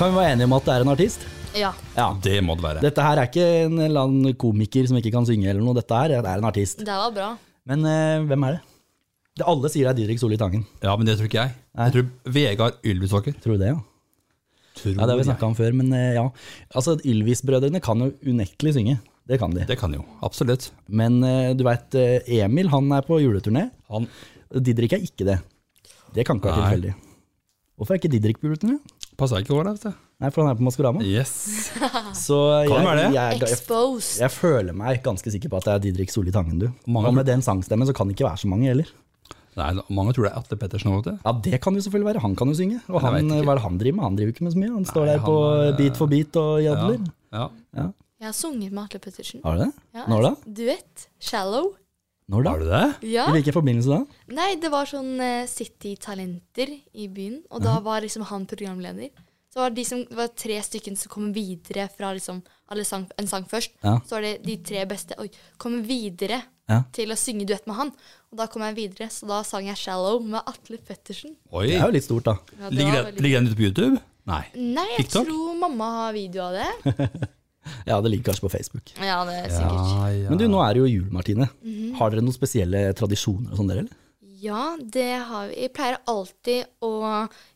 B: Kan vi være enige om at det er en artist?
C: Ja.
B: Ja.
A: Det må det være.
B: Dette her er ikke en eller annen komiker som ikke kan synge eller noe. Dette her er en artist.
C: Det var bra.
B: Men eh, hvem er det? det? Alle sier det er Didrik Solli Tangen.
A: Ja, men det tror ikke jeg. Jeg tror Vegard Ylvisåker.
B: Tror du det, ja?
A: Tror
B: Ja, det har vi
A: jeg.
B: snakka om før, men eh, ja. Altså, Ylvis-brødrene kan jo unektelig synge. Det kan de.
A: Det kan jo. Absolutt.
B: Men eh, du veit, Emil han er på juleturné.
A: Han
B: Didrik er ikke det. Det kan ikke være
A: Nei.
B: tilfeldig. Hvorfor er ikke Didrik på juleturné?
A: passa ikke over, vet du.
B: Nei, for han er på Maskorama.
A: Yes.
B: Så
A: Kan være det.
B: jeg, jeg, jeg,
C: Exposed.
B: jeg føler meg ganske sikker på at det er Didrik Solli Tangen, du.
A: Mange-
B: Og med den sangstemmen så kan det ikke være så mange heller.
A: Nei, mange tror det er Atle Pettersen òg, vet du.
B: Ja, det kan jo selvfølgelig være. Han kan jo synge. Og
A: Jeg vet
B: han,
A: ikke.
B: hva er det han driver med? Han driver ikke med så mye. Han står
A: Nei,
B: der på
A: han er,
B: Beat for beat og jadler.
A: Ja.
C: Jeg har sunget med Atle Pettersen.
B: Har du det?
C: Ja,
B: Når da?
C: Duett. Shallow.
B: Når da?
A: Har du det?
C: Ja.
B: I hvilken forbindelse da?
C: Nei, det var sånn eh, City Talenter i byen, og da var liksom han programleder. Så var det de som, det var tre stykken som kom videre fra liksom alle sang, en sang først.
B: Ja.
C: Så var det de tre beste Oi, kom videre
B: Ja.
C: til å synge duett med han. Og da kom jeg videre, så da sang jeg 'Shallow' med Atle Pettersen.
A: Oi.
B: Det er jo litt stort, da.
C: Ja, det
A: ligger,
C: var
A: den,
C: veldig-
A: ligger den ute på YouTube? Nei.
C: Nei, jeg
A: TikTok?
C: tror mamma har video av det.
B: Ja, det ligger kanskje på Facebook.
C: Ja, det er sikkert.
A: ja.
B: Men du, nå er det jo jul, Martine.
C: Mhm.
B: Har dere noen spesielle tradisjoner og sånn, dere, eller?
C: Ja, det har vi. Jeg pleier alltid å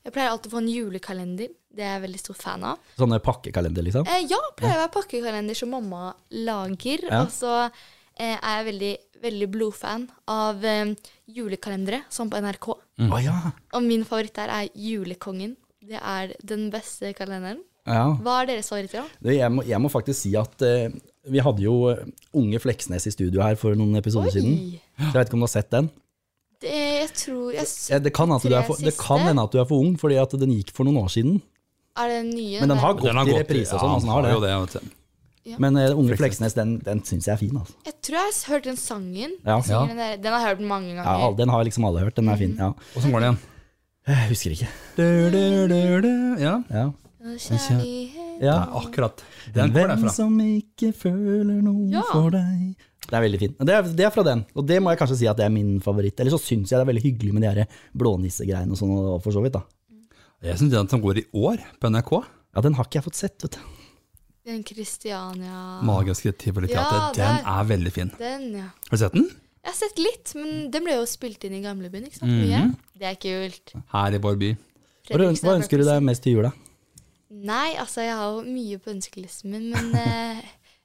C: Jeg pleier alltid å få en julekalender. Det er jeg veldig stor fan av.
B: Sånne pakkekalender, liksom?
C: Eh, ja, pleier å være pakkekalender som mamma lager.
B: Ja.
C: Og så eh, er jeg veldig, veldig blodfan av eh, julekalendere, som på NRK.
A: Mm.
B: Å ja.
C: Og min favoritt der er Julekongen. Det er den beste kalenderen.
B: ja.
C: Hva er deres favoritter, da?
B: Du, Jeg, må, jeg må faktisk si at eh, Vi hadde jo eh, Unge Fleksnes i studio her for noen episoder siden.
C: Oi!
B: Så jeg vet ikke om du har sett den.
C: Det, jeg tror jeg, s-
B: Ja, Det kan hende at du er for-
C: Tre
B: det kan
C: siste?
B: hende at du er for ung, fordi at den gikk for noen år siden.
C: Er det den nye?
B: Men den har
C: der?
B: gått i reprise og sånn. altså, den har
A: jo
B: det.
A: det, vet du.
B: Men eh, Unge Fleksnes, den, den syns jeg er fin. Altså.
C: Jeg tror jeg har s- hørt den sangen.
B: Ja.
C: Jeg synger Den, der, den har jeg hørt mange ganger.
B: Ja, den har liksom alle hørt. Den er fin. Ja.
A: Og så går den igjen.
B: Jeg husker ikke.
A: Du, du, du, du. Ja.
B: Ja.
C: Å, Kjærlighet
B: Ja. ah,
A: Nei, akkurat. Den går
B: Hvem
A: derfra.
B: som ikke føler noe
C: Ja.
B: for deg Det er veldig fint. Det er, det er fra den, og det må jeg kanskje si at det er min favoritt. Eller så syns jeg det er veldig hyggelig med de her blånissegreiene og sånn, og for så vidt, da.
A: Jeg syns den som går i år på NRK,
B: Ja, den har ikke jeg fått sett, vet du.
C: Den Kristiania
A: Magiske Tivoliteater,
C: Ja,
A: den
C: der.
A: er veldig fin.
C: Den, ja.
A: Har du sett den?
C: Jeg har sett litt, men den ble jo spilt inn i gamlebyen. ikke sant?
B: Mhm.
C: Mye. Det er kult.
A: Her i vår by.
B: Hva, hva ønsker du deg mest til jula?
C: Nei, altså jeg har jo mye på ønskelisten min,
B: [LAUGHS]
C: men eh,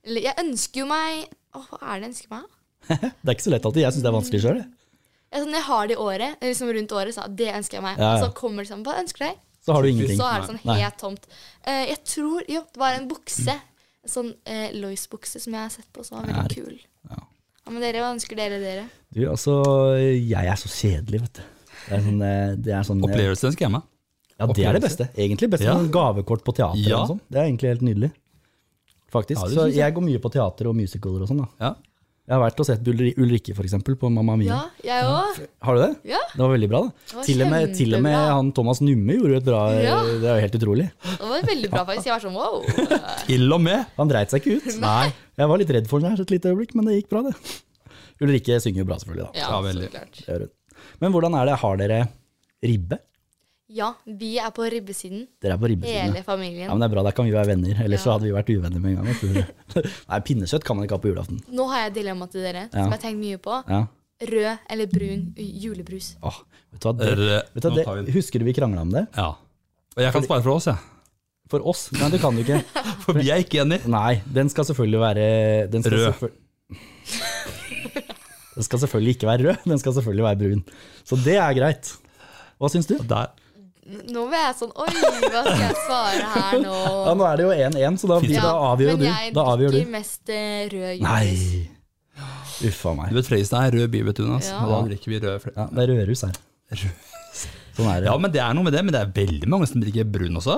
C: eller, jeg ønsker jo meg Åh, Hva er det jeg ønsker meg? da?
B: Det er ikke så lett alltid. Jeg syns det er vanskelig sjøl.
C: Jeg, sånn, jeg har det i året, eller liksom rundt året, så det ønsker jeg meg.
B: Ja, ja.
C: Og så kommer det sånn, hva ønsker du deg?
B: Så har du ingenting.
C: Så er det sånn
B: Nei.
C: helt tomt. Eh, jeg tror Jo, det var en bukse. En sånn eh, Lois-bukse som jeg har sett på, som var veldig kul. Ja, Men dere, hva ønsker dere dere?
B: Du, altså, jeg er så kjedelig, vet du. Det er sånn, eh, det er sånn eh,
A: Opplevelsen skal jeg med.
B: Ja, det er det
A: opplevelse.
B: beste, egentlig. Best
A: Ja.
B: med sånn gavekort på teater
A: Ja.
B: og sånn. Det er egentlig helt nydelig. Faktisk.
A: Ja, det
B: så
A: synes jeg.
B: jeg går mye på teater og musicaler og sånn, da.
A: Ja.
B: Jeg har vært og sett Ulri- Ulrikke, for eksempel, på Mamma Mia.
C: Ja, jeg òg.
B: Har du det?
C: Ja.
B: Det var veldig bra,
C: Det
B: da.
C: var
B: Til og, med, til og med
C: kjempebra.
B: han Thomas Numme gjorde jo et bra
C: Ja.
B: Det er jo helt utrolig.
C: Det var veldig bra, faktisk. Jeg var sånn
B: [LAUGHS]
C: wow.
A: Til og med!
B: Han dreit seg ikke ut.
C: [LAUGHS] Nei.
B: Jeg var litt redd for ham et lite øyeblikk, men det gikk bra, det. Ulrikke synger jo bra, selvfølgelig, da.
C: Ja,
A: Ja,
C: så
A: veldig.
C: klart.
B: Det gjør hun. Men hvordan er det? Har dere ribbe?
C: Ja, vi er på ribbesiden.
B: Dere er på ribbesiden.
C: Hele
B: ja. Ja,
C: familien.
B: men det er bra, der kan vi være venner. Ellers så hadde vi vært uvenner med en gang. vet du.
C: [LAUGHS]
B: Nei, pinnekjøtt kan man ikke ha på julaften.
C: Nå har jeg et dilemma til dere,
B: Ja.
C: som jeg har tenkt mye på.
B: Ja.
C: Rød eller brun julebrus?
B: Åh, vet du hva, det,
A: Rød.
B: vet du hva
A: Eh, Nå tar vi
B: det, husker du vi krangla om det?
A: Ja. Og jeg kan spare for oss, jeg.
B: For oss? Nei, det kan du
C: [LAUGHS]
B: ikke.
A: For vi er ikke enige.
B: Nei, den skal selvfølgelig være den skal
A: Rød.
B: selvføl- [LAUGHS] den skal selvfølgelig ikke være rød, den skal selvfølgelig være brun. Så det er greit. Hva syns du?
A: Der.
C: N- Nå ble jeg sånn Oi, hva skal jeg svare her nå?
B: Ja, nå er det jo 1-1, så da, blir-
C: Ja,
B: da avgjør
C: men
B: du.
C: jeg
B: Da avgjør
C: drikker
B: du.
C: mest eh, rød julebrus.
B: Nei. Uffa
A: Du
B: meg.
A: vet Fredrikstad er rød by, vet du. Jonas.
C: Ja.
A: Og da drikker vi rød
B: Ja,
A: Fredrikstad.
B: det er rødhus her. Sånn er det.
A: Ja, men det er noe med det. Men det er veldig mange som drikker brun også.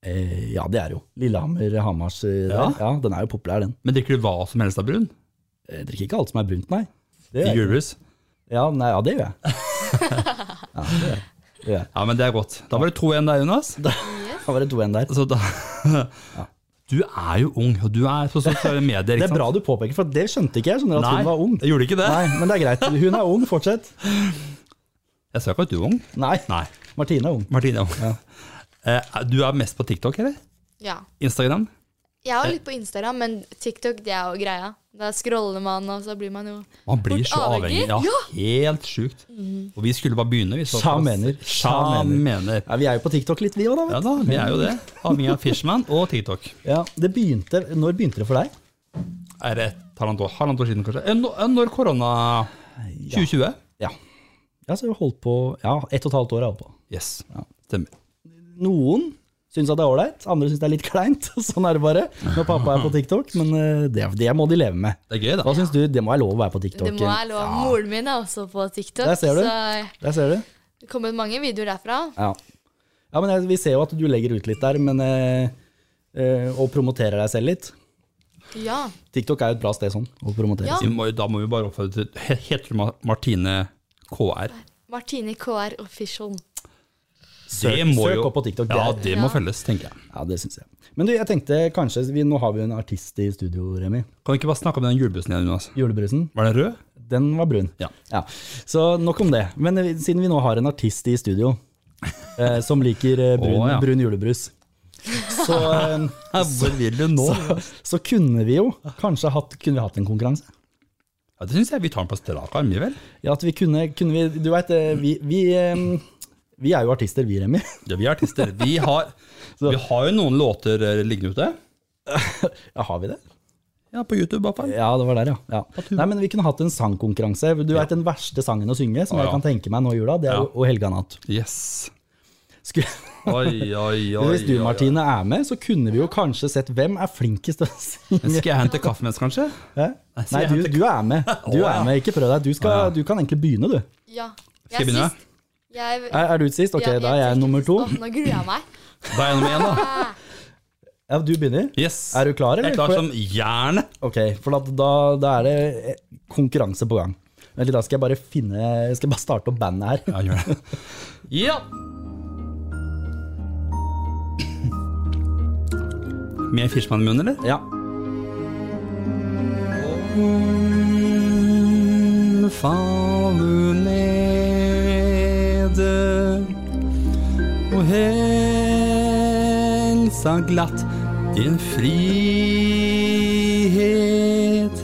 B: Eh, ja, det er jo. Lillehammer, Hamars eh, der.
A: Ja.
B: Ja, den er jo populær, den.
A: Men drikker du hva som helst av brun?
B: Jeg drikker ikke alt som er brunt, nei. Det
A: I
B: gjør jeg.
A: julebrus?
B: Ja, nei, ja, det gjør jeg. Ja, det gjør jeg. Det gjør jeg.
A: Ja, men det er godt. Da var det 2-1 der, Jonas.
B: Da var det 2-1 [LAUGHS] der.
A: Så da Du er jo ung, og du er på sosiale medier.
B: Det
A: ikke
B: er
A: sant?
B: bra du påpeker, for det skjønte ikke jeg. Skjønner at
A: Nei,
B: hun var ung.
A: jeg gjorde ikke det.
B: Nei, Men det er greit. Hun er ung, fortsett.
A: Jeg sa ikke at du er ung.
B: Nei,
A: Nei.
B: Martine er ung.
A: Martine er ung. Eh, Du er mest på TikTok, eller?
C: Ja.
A: Instagram?
C: Jeg
B: Eh.
C: er jo litt på Instagram, men TikTok det er jo greia. Da scroller man, og så blir man jo
A: Man blir
C: Fort
A: så avhengig.
C: avhengig.
A: Ja, helt sjukt. Og vi skulle bare begynne. vi så-
B: Sja mener.
A: Sja mener.
B: Ja, vi er jo på TikTok litt, vi òg, da.
A: Ja
B: vet
A: da, vi er jo det. Avhengig av Fishman og TikTok.
B: du. Ja, det begynte, når begynte det for deg?
A: Er det et halvannet år, halvannet år siden, kanskje? Eh, nå- eh, Når korona 2020?
B: Ja. ja så jeg har holdt på ja, ett og et halvt år. har Jeg holdt på.
A: Yes, stemmer.
B: Noen syns at det er ålreit, andre syns det er litt kleint. [LAUGHS] Sånn er det bare når pappa er på TikTok, men eh, det, det må de leve med.
A: Det er gøy, da.
B: Hva syns du? Det må være lov å være på TikTok.
C: Det må være lov. Moren min er også på TikTok,
B: Der ser du.
C: så eh,
B: Der ser du.
C: det kommer mange videoer derfra.
B: Ja. ja, men jeg, vi ser jo at du legger ut litt der, men eh, eh, og promoterer deg selv litt.
C: Ja.
B: TikTok er jo et bra sted sånn, å promotere.
C: Ja.
A: Vi må, jo- da må vi bare oppfordre til he- Heter du Ma- Martine KR?
C: Martine KR Official.
B: Søk- søk opp på TikTok, det
A: Ja,
B: er-
A: det må følges, tenker jeg.
B: Ja, det syns jeg. Men du, jeg tenkte kanskje vi, Nå har vi jo en artist i studio, Remi.
A: Kan vi ikke bare snakke om den julebrusen igjen, Jonas?
B: Julebrusen.
A: Var den rød?
B: Den var brun.
A: Ja.
B: Så nok om det. Men eh, siden vi nå har en artist i studio eh, som liker eh, brun,
A: Å, ja.
B: brun julebrus, så, eh,
A: [LAUGHS] Hvor vil du nå?
B: så, så kunne vi jo kanskje hatt, kunne vi hatt en konkurranse.
A: Ja, det syns jeg vi tar den på strak arm, vi vel?
B: Ja, at vi kunne, kunne vi, Du veit, vi, vi, eh, vi er jo artister, vi, Remi.
A: Ja, vi er artister. [LAUGHS] Vi har, vi har jo noen låter eh, liggende ute.
B: Ja, har vi det?
A: Ja, på YouTube, iallfall.
B: Ja, det var der, ja. ja. Nei, men Vi kunne hatt en sangkonkurranse. Du vet den verste sangen å synge, som
A: Å,
B: jeg
A: ja.
B: kan tenke meg nå i jula, det er
A: Ja. [LAUGHS]
B: jo 'O helga natt'.
A: Yes.
B: Skulle,
A: Oi, oi, oi.
B: hvis du,
A: oi, oi.
B: Martine, er med, så kunne vi jo kanskje sett hvem er flinkest til å
A: Men
B: synge.
A: Skal jeg hente kaffe mens, kanskje?
B: Hæ?
A: skal
B: Nei,
A: jeg
B: du,
A: hente-
B: du er med. Du
A: Å,
B: er
A: ja.
B: med, ikke prøv deg. Du,
A: Å, ja.
B: skal, du kan egentlig begynne, du.
C: Ja.
A: Skal jeg begynne?
C: sist. Jeg,
B: Er, er du sist? Ok,
C: ja,
B: da er jeg nummer to.
C: Åh, nå gruer jeg meg.
A: Da er jeg nummer én, da.
B: Ja, du begynner.
A: Yes.
B: Er du klar,
A: Jeg
B: eller?
A: er klar som jernet.
B: Ok, for at da, da er det eh, konkurranse på gang. Vent litt, da skal jeg bare finne Jeg skal bare starte opp bandet her.
A: Ja, gjør det. Ja. Med Fishman i munnen, eller?
B: Ja.
A: Mm, faller nede og helsa glatt din frihet.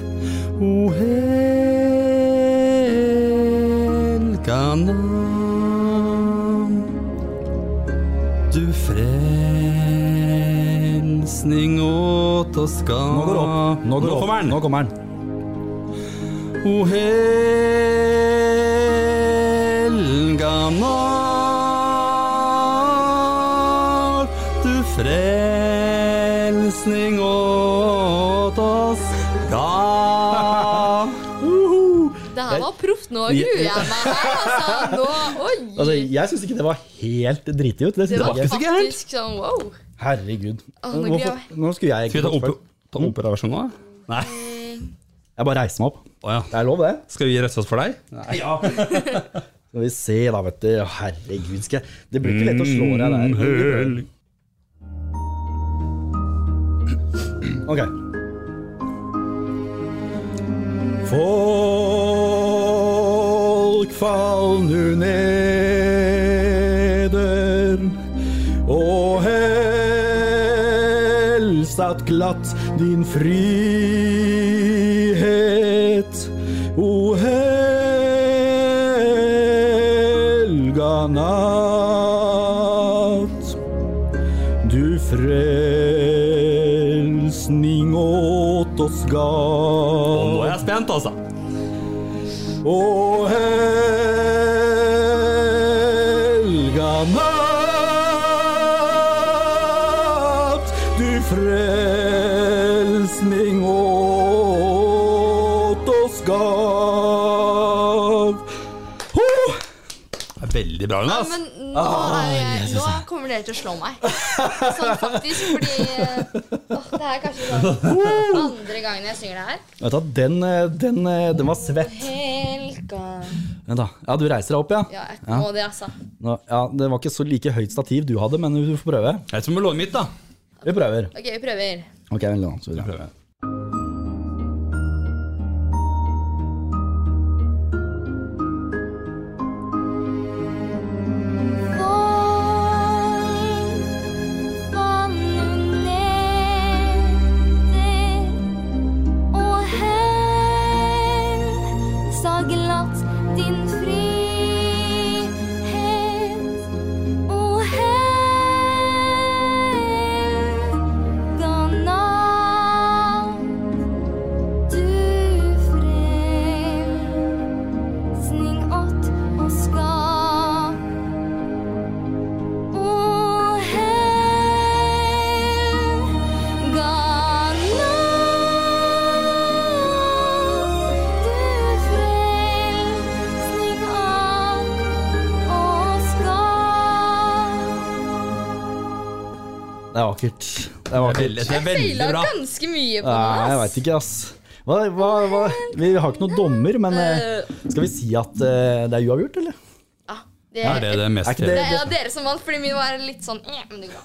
A: O helga navn, du frelsning åt oss ga.
B: Nå går det opp. Nå, går det opp.
A: kommer den.
B: Nå kommer den.
A: O helga natt, du frelsning åt oss
B: [LAUGHS]
A: ga.
C: Det her var proft. Nå gruer jeg meg her, altså. Nå, oi.
B: Altså, jeg syns ikke det var helt driti ut. Det
C: det
B: synes
C: var
B: jeg ikke.
A: ikke gærent.
C: faktisk sånn wow.
B: Herregud.
C: Å, nå
B: Hvorfor-
C: gruer jeg
B: nå skulle
A: Skal
B: jeg
A: vi ta,
B: egentlig
A: opera,
B: først.
A: ta operaversjonen òg? Nei.
B: Jeg bare reiser meg opp.
A: Å ja.
B: Det er lov, det.
A: Skal vi rette oss for deg?
B: Skal vi se, da, vet du. Herregud. Skal jeg... Det blir ikke lett å slå deg der. Ok. Folk fall nu neder og helsat glatt din frihet. O helga natt du frelsning åt oss
A: Og nå er
B: gav.
A: jeg spent, altså.
B: Å helga natt, du frelsning åt oss gav. Ho!
A: Det er veldig bra, Jonas.
C: Men nå, er jeg, nå kommer dere til å slå meg. Sånn faktisk, fordi eh, åh, Det her er kanskje den andre gangen jeg synger det her.
B: Vet du, hva, den, eh, den, eh, den var svett.
C: Helga
B: Vent da. Ja, du reiser deg opp, ja?
C: Ja, jeg må det, altså.
B: Nå, ja, det var ikke så like høyt stativ du hadde, men du får prøve.
A: Jeg tror vi må låne mitt, da.
B: Vi prøver.
C: OK, vi prøver.
B: Ok, vent litt, nå, så videre.
A: Prøve.
G: glatt din frihet og helga natt. Du frelsning åt oss gav. O helga natt, du frelsning av oss gav.
B: Det er vakkert. Det er vakkert.
A: Veldig, det er veldig
C: Feila
A: bra.
C: ganske mye på
B: Nei, jeg
C: den.
B: veit ikke, ass. Hva, hva, hva? Vi har ikke noen dommer, men eh,
C: ass.
B: skal vi si at eh, det er uavgjort, eller?
C: Ja, det,
A: Er det det mest
B: Er ikke det-
C: det er en av dere som vant, fordi min var litt sånn eh, men det går bra.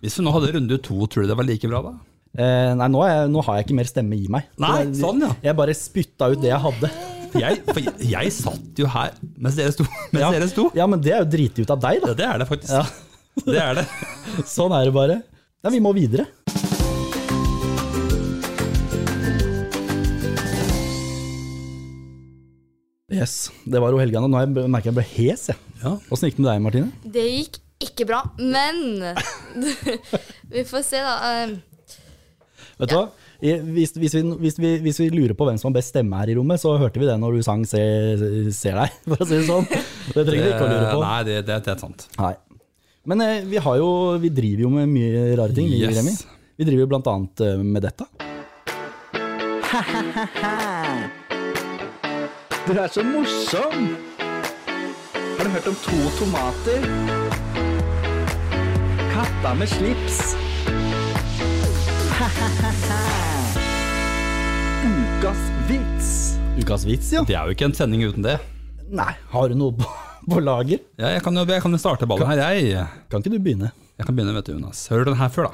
A: Hvis vi nå hadde runde to, tror du det var like bra da?
B: Eh, nei, nå, er, jeg- nå har jeg ikke mer stemme i meg. Så
A: Nei,
B: det-
A: sånn, ja.
B: Jeg bare spytta ut det jeg hadde.
A: Jeg, for jeg, jeg satt jo her mens dere sto. Mens
B: Ja.
A: dere sto.
B: Ja, men det er jo driti ut av deg,
A: Ja,
B: da.
A: det er det faktisk.
B: Ja.
A: Det er det.
B: Sånn er det bare. Nei, vi må videre. Yes, det var jo helga nå. Nå har jeg- merker jeg jeg ble hes, jeg.
A: Ja.
B: Åssen gikk det med deg, Martine?
C: Det gikk ikke bra, men [LAUGHS] Vi får se, da. Um,
B: Vet du hva? I- Hvis, hvis, vi, hvis, vi, hvis vi lurer på hvem som har best stemme her i rommet, så hørte vi det når du sang Se, [LAUGHS]
A: Eh,
B: Ser deg, for å si [LAUGHS] det sånn. Det trenger du ikke å lure på.
A: Nei, det, det, det er sant.
B: Nei. Men eh, vi, har jo, vi driver jo med mye rare ting, vi,
A: Yes.
B: Remi. Vi driver jo blant annet eh, med
H: [LAUGHS]
B: dette.
H: Du er så morsom! Har du hørt om to tomater? Katta med slips. [LAUGHS] Ukas vits.
B: Ukas vits, ja.
A: Det er jo ikke en sending uten det.
B: Nei, har du noe på, på lager?
A: Ja, jeg, kan jo, jeg kan jo starte ballen her, jeg.
B: Kan ikke du begynne?
A: Jeg kan begynne, vet du, Jonas. Hører du den her før, da?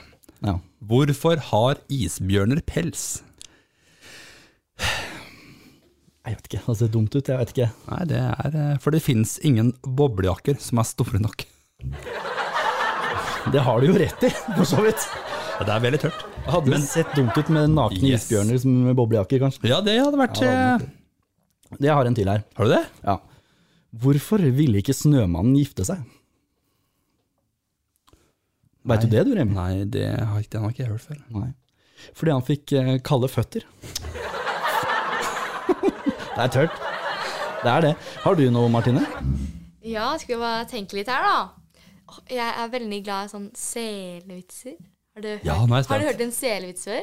B: Ja.
A: Hvorfor har isbjørner pels?
B: Jeg vet ikke, det ser dumt ut. Jeg vet ikke.
A: Nei, det er eh, For det fins ingen boblejakker som er store nok.
B: Det har du jo rett i, for så vidt.
A: Ja, det er veldig tørt.
B: Hadde det sett dumt ut med nakne
A: Yes.
B: isbjørner som- med boblejakker, kanskje.
A: Ja, det hadde vært eh,
B: Det har en til her.
A: Har du det?
B: Ja. Hvorfor ville ikke Snømannen gifte seg? Veit du det, du, Remi?
A: Nei, det har ikke, den har ikke jeg hørt før.
B: Nei. Fordi han fikk eh, kalde føtter. det er tørt. Det er det. Har du noe, Martine?
C: Ja, skal vi bare tenke litt her, da. Åh, Jeg er veldig glad i sånn selevitser. Har du hørt,
A: Ja, nå er jeg spent.
C: har du hørt en selevits før?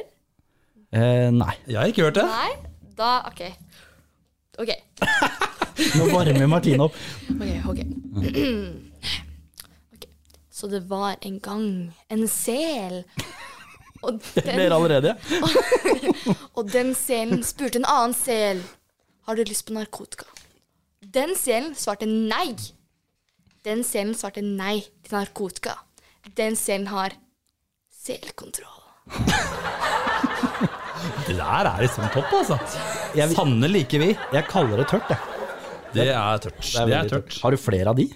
B: Eh, nei.
A: Jeg har ikke hørt det.
C: Nei? Da OK. OK.
B: Nå varmer Martine opp.
C: Ok, ok.
A: Mm.
C: Ok, Så det var en gang en sel.
A: [LAUGHS]
C: Og
B: Ler
C: den,
B: allerede.
C: og den selen spurte en annen sel Har du lyst på narkotika. Den selen svarte nei. Den selen svarte nei til narkotika. Den selen har selkontroll.
A: Det der er liksom topp, altså.
B: Jeg, vil-
A: Sanne liker vi.
B: jeg kaller det tørt, jeg.
A: Det er tørt. Det er,
B: veldig
A: tørt.
B: Har du flere av de?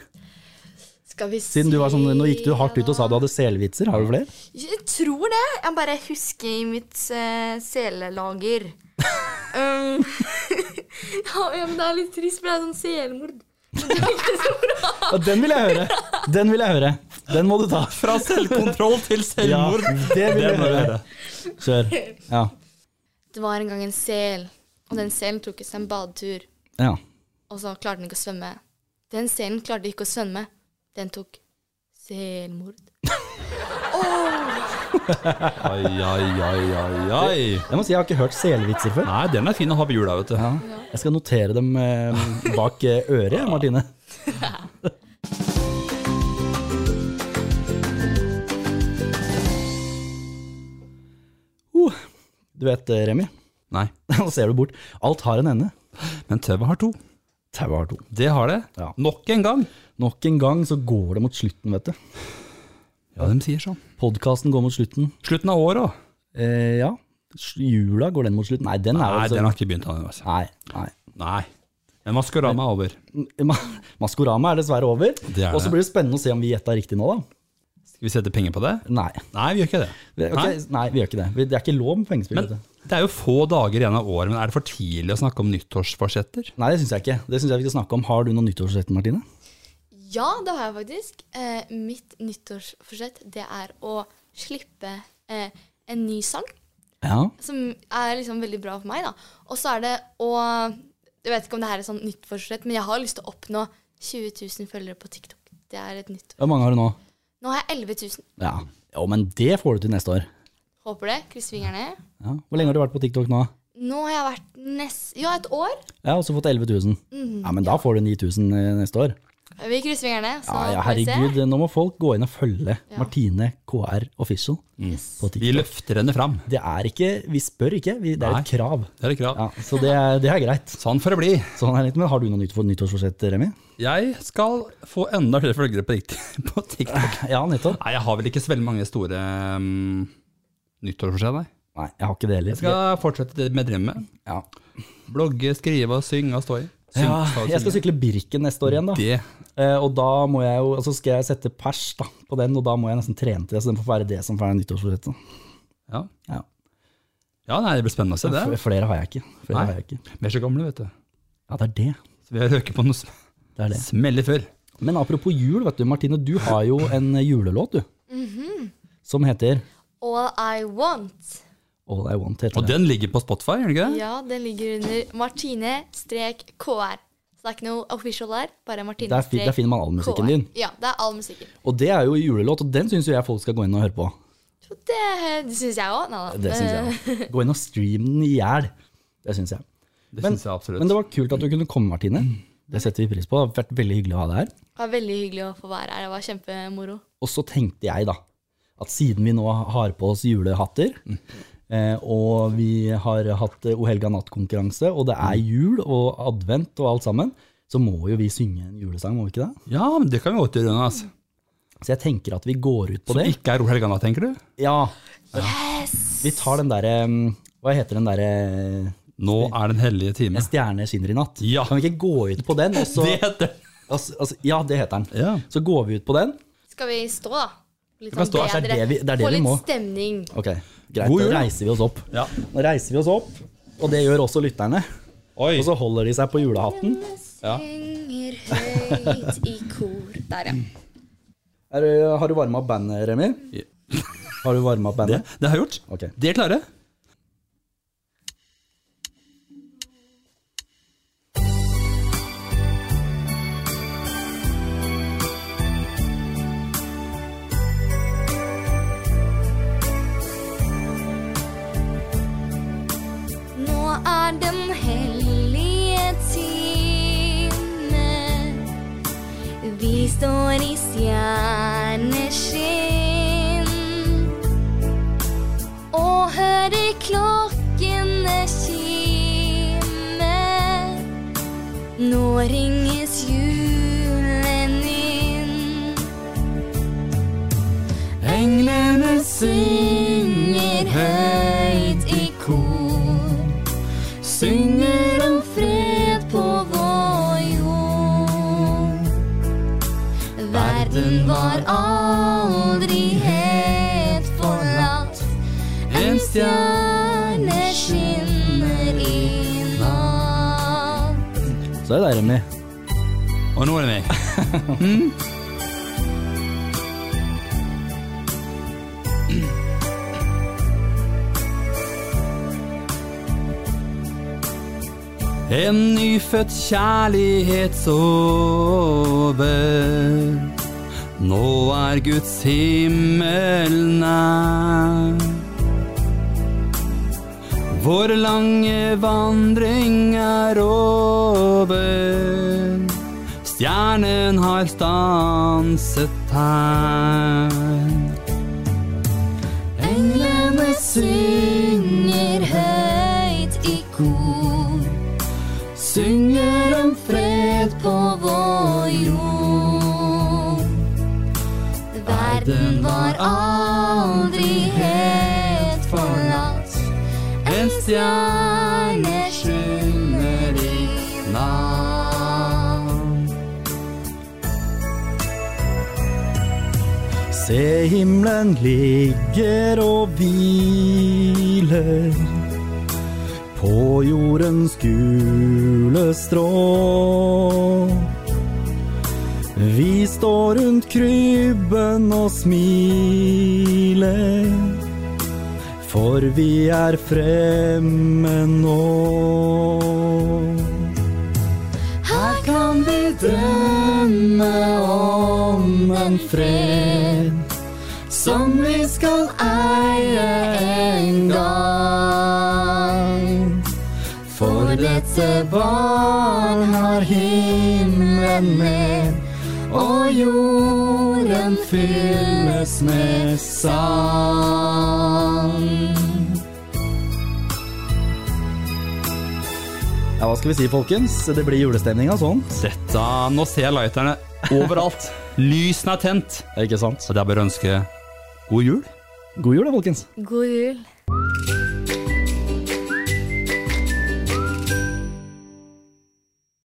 C: Skal vi
B: Siden du var sånn, Nå gikk du
C: se,
B: hardt ut og sa du hadde selvvitser. Har du flere?
C: Jeg tror det. Jeg bare husker i mitt eh,
B: [LAUGHS]
C: selelager. um, [LAUGHS] ja, men det er litt trist, for det er sånn selmord.
B: Ja, den vil jeg høre! Den vil jeg høre. Den må du ta.
A: Fra selvkontroll [LAUGHS] til selvmord.
B: Ja, det vil jeg
A: må vi
B: høre.
A: høre.
B: Kjør. Ja.
C: Det var en gang en sel, og den selen tok seg en badetur.
B: ja.
C: Og så klarte den ikke å svømme. Den selen klarte ikke å svømme. Den tok selmord.
A: Ai, ai, ai, ai, ai.
B: Jeg må si jeg har ikke hørt selvvitser før.
A: Nei, den er fin å ha på jula, vet du.
B: Ja. Jeg skal notere dem eh, bak eh, øret, Martine. Uh, du vet, eh, Remi, [LAUGHS]
A: Nei.
B: nå ser du bort. Alt har en ende.
A: Men tauet har to.
B: Tauet har to.
A: Det har det.
B: Ja.
A: Nok en gang.
B: Nok en gang så går det mot slutten, vet du.
A: Ja, de sier sånn.
B: Podkasten går mot slutten.
A: Slutten av året òg.
B: Eh, ja. Jula, går den mot slutten? Nei, den er
A: Nei,
B: jo
A: den har ikke begynt ennå. altså.
B: Nei, nei. [LAUGHS]
A: Nei. Men Maskorama er over.
B: Ma- Maskorama er dessverre over.
A: er
B: Og så
A: det.
B: blir det spennende å se om vi gjetta riktig nå, da.
A: Skal vi sette penger på det?
B: Nei.
A: Nei, vi gjør ikke det.
B: Vi- ok,
A: Nei.
B: nei, vi gjør ikke det. Vi- Det er ikke lov med pengespill.
A: Men
B: vet du.
A: det er jo få dager igjen av året, men er det for tidlig å snakke om nyttårsforsetter?
B: Nei, det syns jeg ikke. Det synes jeg vi skal snakke om. Har du noen nyttårsrett, Martine?
C: Ja, det har jeg faktisk. Eh, mitt nyttårsforsett, det er å slippe eh, en ny sang.
B: Ja.
C: som er liksom veldig bra for meg, da. Og så er det å Jeg vet ikke om det her er sånn nytt forsett, men jeg har lyst til å oppnå 20 000 følgere på TikTok. Det er et nytt.
B: Hvor mange har du nå?
C: Nå har jeg 11 000.
B: Ja. Jo, men det får du til neste år.
C: Håper det. Kryss fingrene.
B: Ja. Hvor lenge har du vært på TikTok nå?
C: Nå har jeg vært nest... Ja, et år.
B: Jeg har også fått 11 000.
C: Mhm.
B: Ja, men da får du 9000 neste år.
C: Vi krysser fingrene, så
B: Ja, ja,
C: får vi se.
B: herregud. Nå må folk gå inn og følge Martine KR Official
A: Mm.
B: på
A: Vi
B: TikTok.
A: løfter henne fram.
B: Det er ikke Vi spør ikke, vi, det er
A: Nei.
B: et krav.
A: Det er et krav.
B: Ja, så det er, det er greit.
A: Sånn får det bli.
B: Sånn er det litt, men Har du noe nytt for nyttårsforsett, Remi?
A: Jeg skal få enda flere følgere på rikt- [LAUGHS] på TikTok.
B: Ja, nettopp.
A: Nei, jeg har vel ikke så veldig mange store um, nyttårsforsett, nei.
B: Nei, jeg har ikke det heller.
A: Jeg skal fortsette det med drømmen.
B: Ja.
A: Blogge, skrive, synge og stå i. Synge,
B: Ja,
A: stå i,
B: jeg skal
A: synge.
B: sykle Birken neste år igjen, da.
A: Det
B: Eh, og da må jeg jo, altså skal jeg sette pers da, på den, og da må jeg nesten trene til det. Så den får være det som får være nyttårsforsettet.
A: ja.
B: Ja.
A: ja, nei, det blir spennende å se det.
B: F- Flere har jeg ikke. Flere
A: Nei.
B: har jeg ikke.
A: Vi er så gamle, vet du.
B: Ja, det er det.
A: Så vi har røket på noe som
B: det er det.
A: smeller før.
B: Men apropos jul, vet du, Martine, du har jo en julelåt, du. Som heter
C: All I Want.
B: All I Want. heter
A: Og den ligger på Spotify, gjør den ikke det?
C: Ja, den ligger under Martine-KR. Så det er ikke noe official der. Bare Martine
B: Der, fin- der finner man all musikken din.
C: Ja, det er all musikken.
B: Og det er jo julelåt, og den syns jeg folk skal gå inn og høre på.
C: Så det, det syns jeg òg. Nei da.
B: Det synes jeg også. Gå inn og stream den i hjel. Det syns jeg.
A: Det
B: Men-
A: synes jeg absolutt.
B: Men det var kult at du kunne komme, Martine. Det setter vi pris på. Det har vært veldig hyggelig å ha deg her.
C: Det var veldig hyggelig å få være her. Det var kjempemoro.
B: Og så tenkte jeg da, at siden vi nå har på oss julehatter, eh, og vi har hatt eh, O helga natt-konkurranse, og det er jul og advent og alt sammen, så må jo vi synge en julesang, må vi ikke det?
A: Ja, men det kan vi godt gjøre, Jonas.
B: Så jeg tenker at vi går ut på
A: Som
B: det.
A: ikke er Ol Helgana, tenker du?
B: Ja. Vi tar den derre eh, Hva heter den derre
A: Nå er den hellige time.
B: Stjerne skinner i natt.
A: Ja.
B: Kan vi ikke gå ut på den? Og så,
A: [LAUGHS] Det heter
B: altså, altså, ja, det heter den.
A: Ja.
B: Så går vi ut på den.
C: Skal vi stå, da? Litt sånn
A: Vi kan stå.
B: Det er det vi- det er det
C: Få
B: vi
C: litt
B: må.
C: stemning.
B: Ok, greit.
A: God jul.
B: Da reiser vi oss opp.
A: Ja.
B: Nå reiser vi oss opp, og det gjør også lytterne.
A: Oi.
B: Og så holder de seg på julehatten.
A: Ja.
C: Synger høyt i kor. Der, ja.
B: Mm. Er, du- har du varma opp bandet, Remi?
A: Ja.
B: Har du varma opp
A: Det,
B: bandet?
A: det har jeg gjort.
B: Ok.
A: De er klare.
G: Nå er den hellige time. Vi står i stjerneskinn og hører klokkene kime. Nå ringes julen inn. Englene synger høyt i kor. Synger om fred på vår jord. Verden var aldri helt forlatt. En stjerne skinner i natt.
B: Så er det deg, Remi.
A: Og nå er det meg. Mm. En nyfødt kjærlighet sover. Nå er Guds himmel nær. Vår lange vandring er over. Stjernen har stanset her.
G: Englene synger høyt i kor. Synger om fred på vår jord. Verden var aldri helt forlatt. En stjerne skinner i natt.
B: Se himmelen ligger og hviler på jordens gule strå. Vi står rundt krybben og smiler, for vi er fremme nå. Her kan vi drømme om en fred som vi skal eie en gang. For dette barn har himmelen med, og jorden fylles med sang. Ja, hva skal vi si, folkens? Det blir julestemning av sånt.
A: Dette Nå ser jeg lighterne overalt. Lysene er tent.
B: Ikke sant?
A: Så det er bare å ønske god jul.
B: God jul da, folkens.
C: God jul.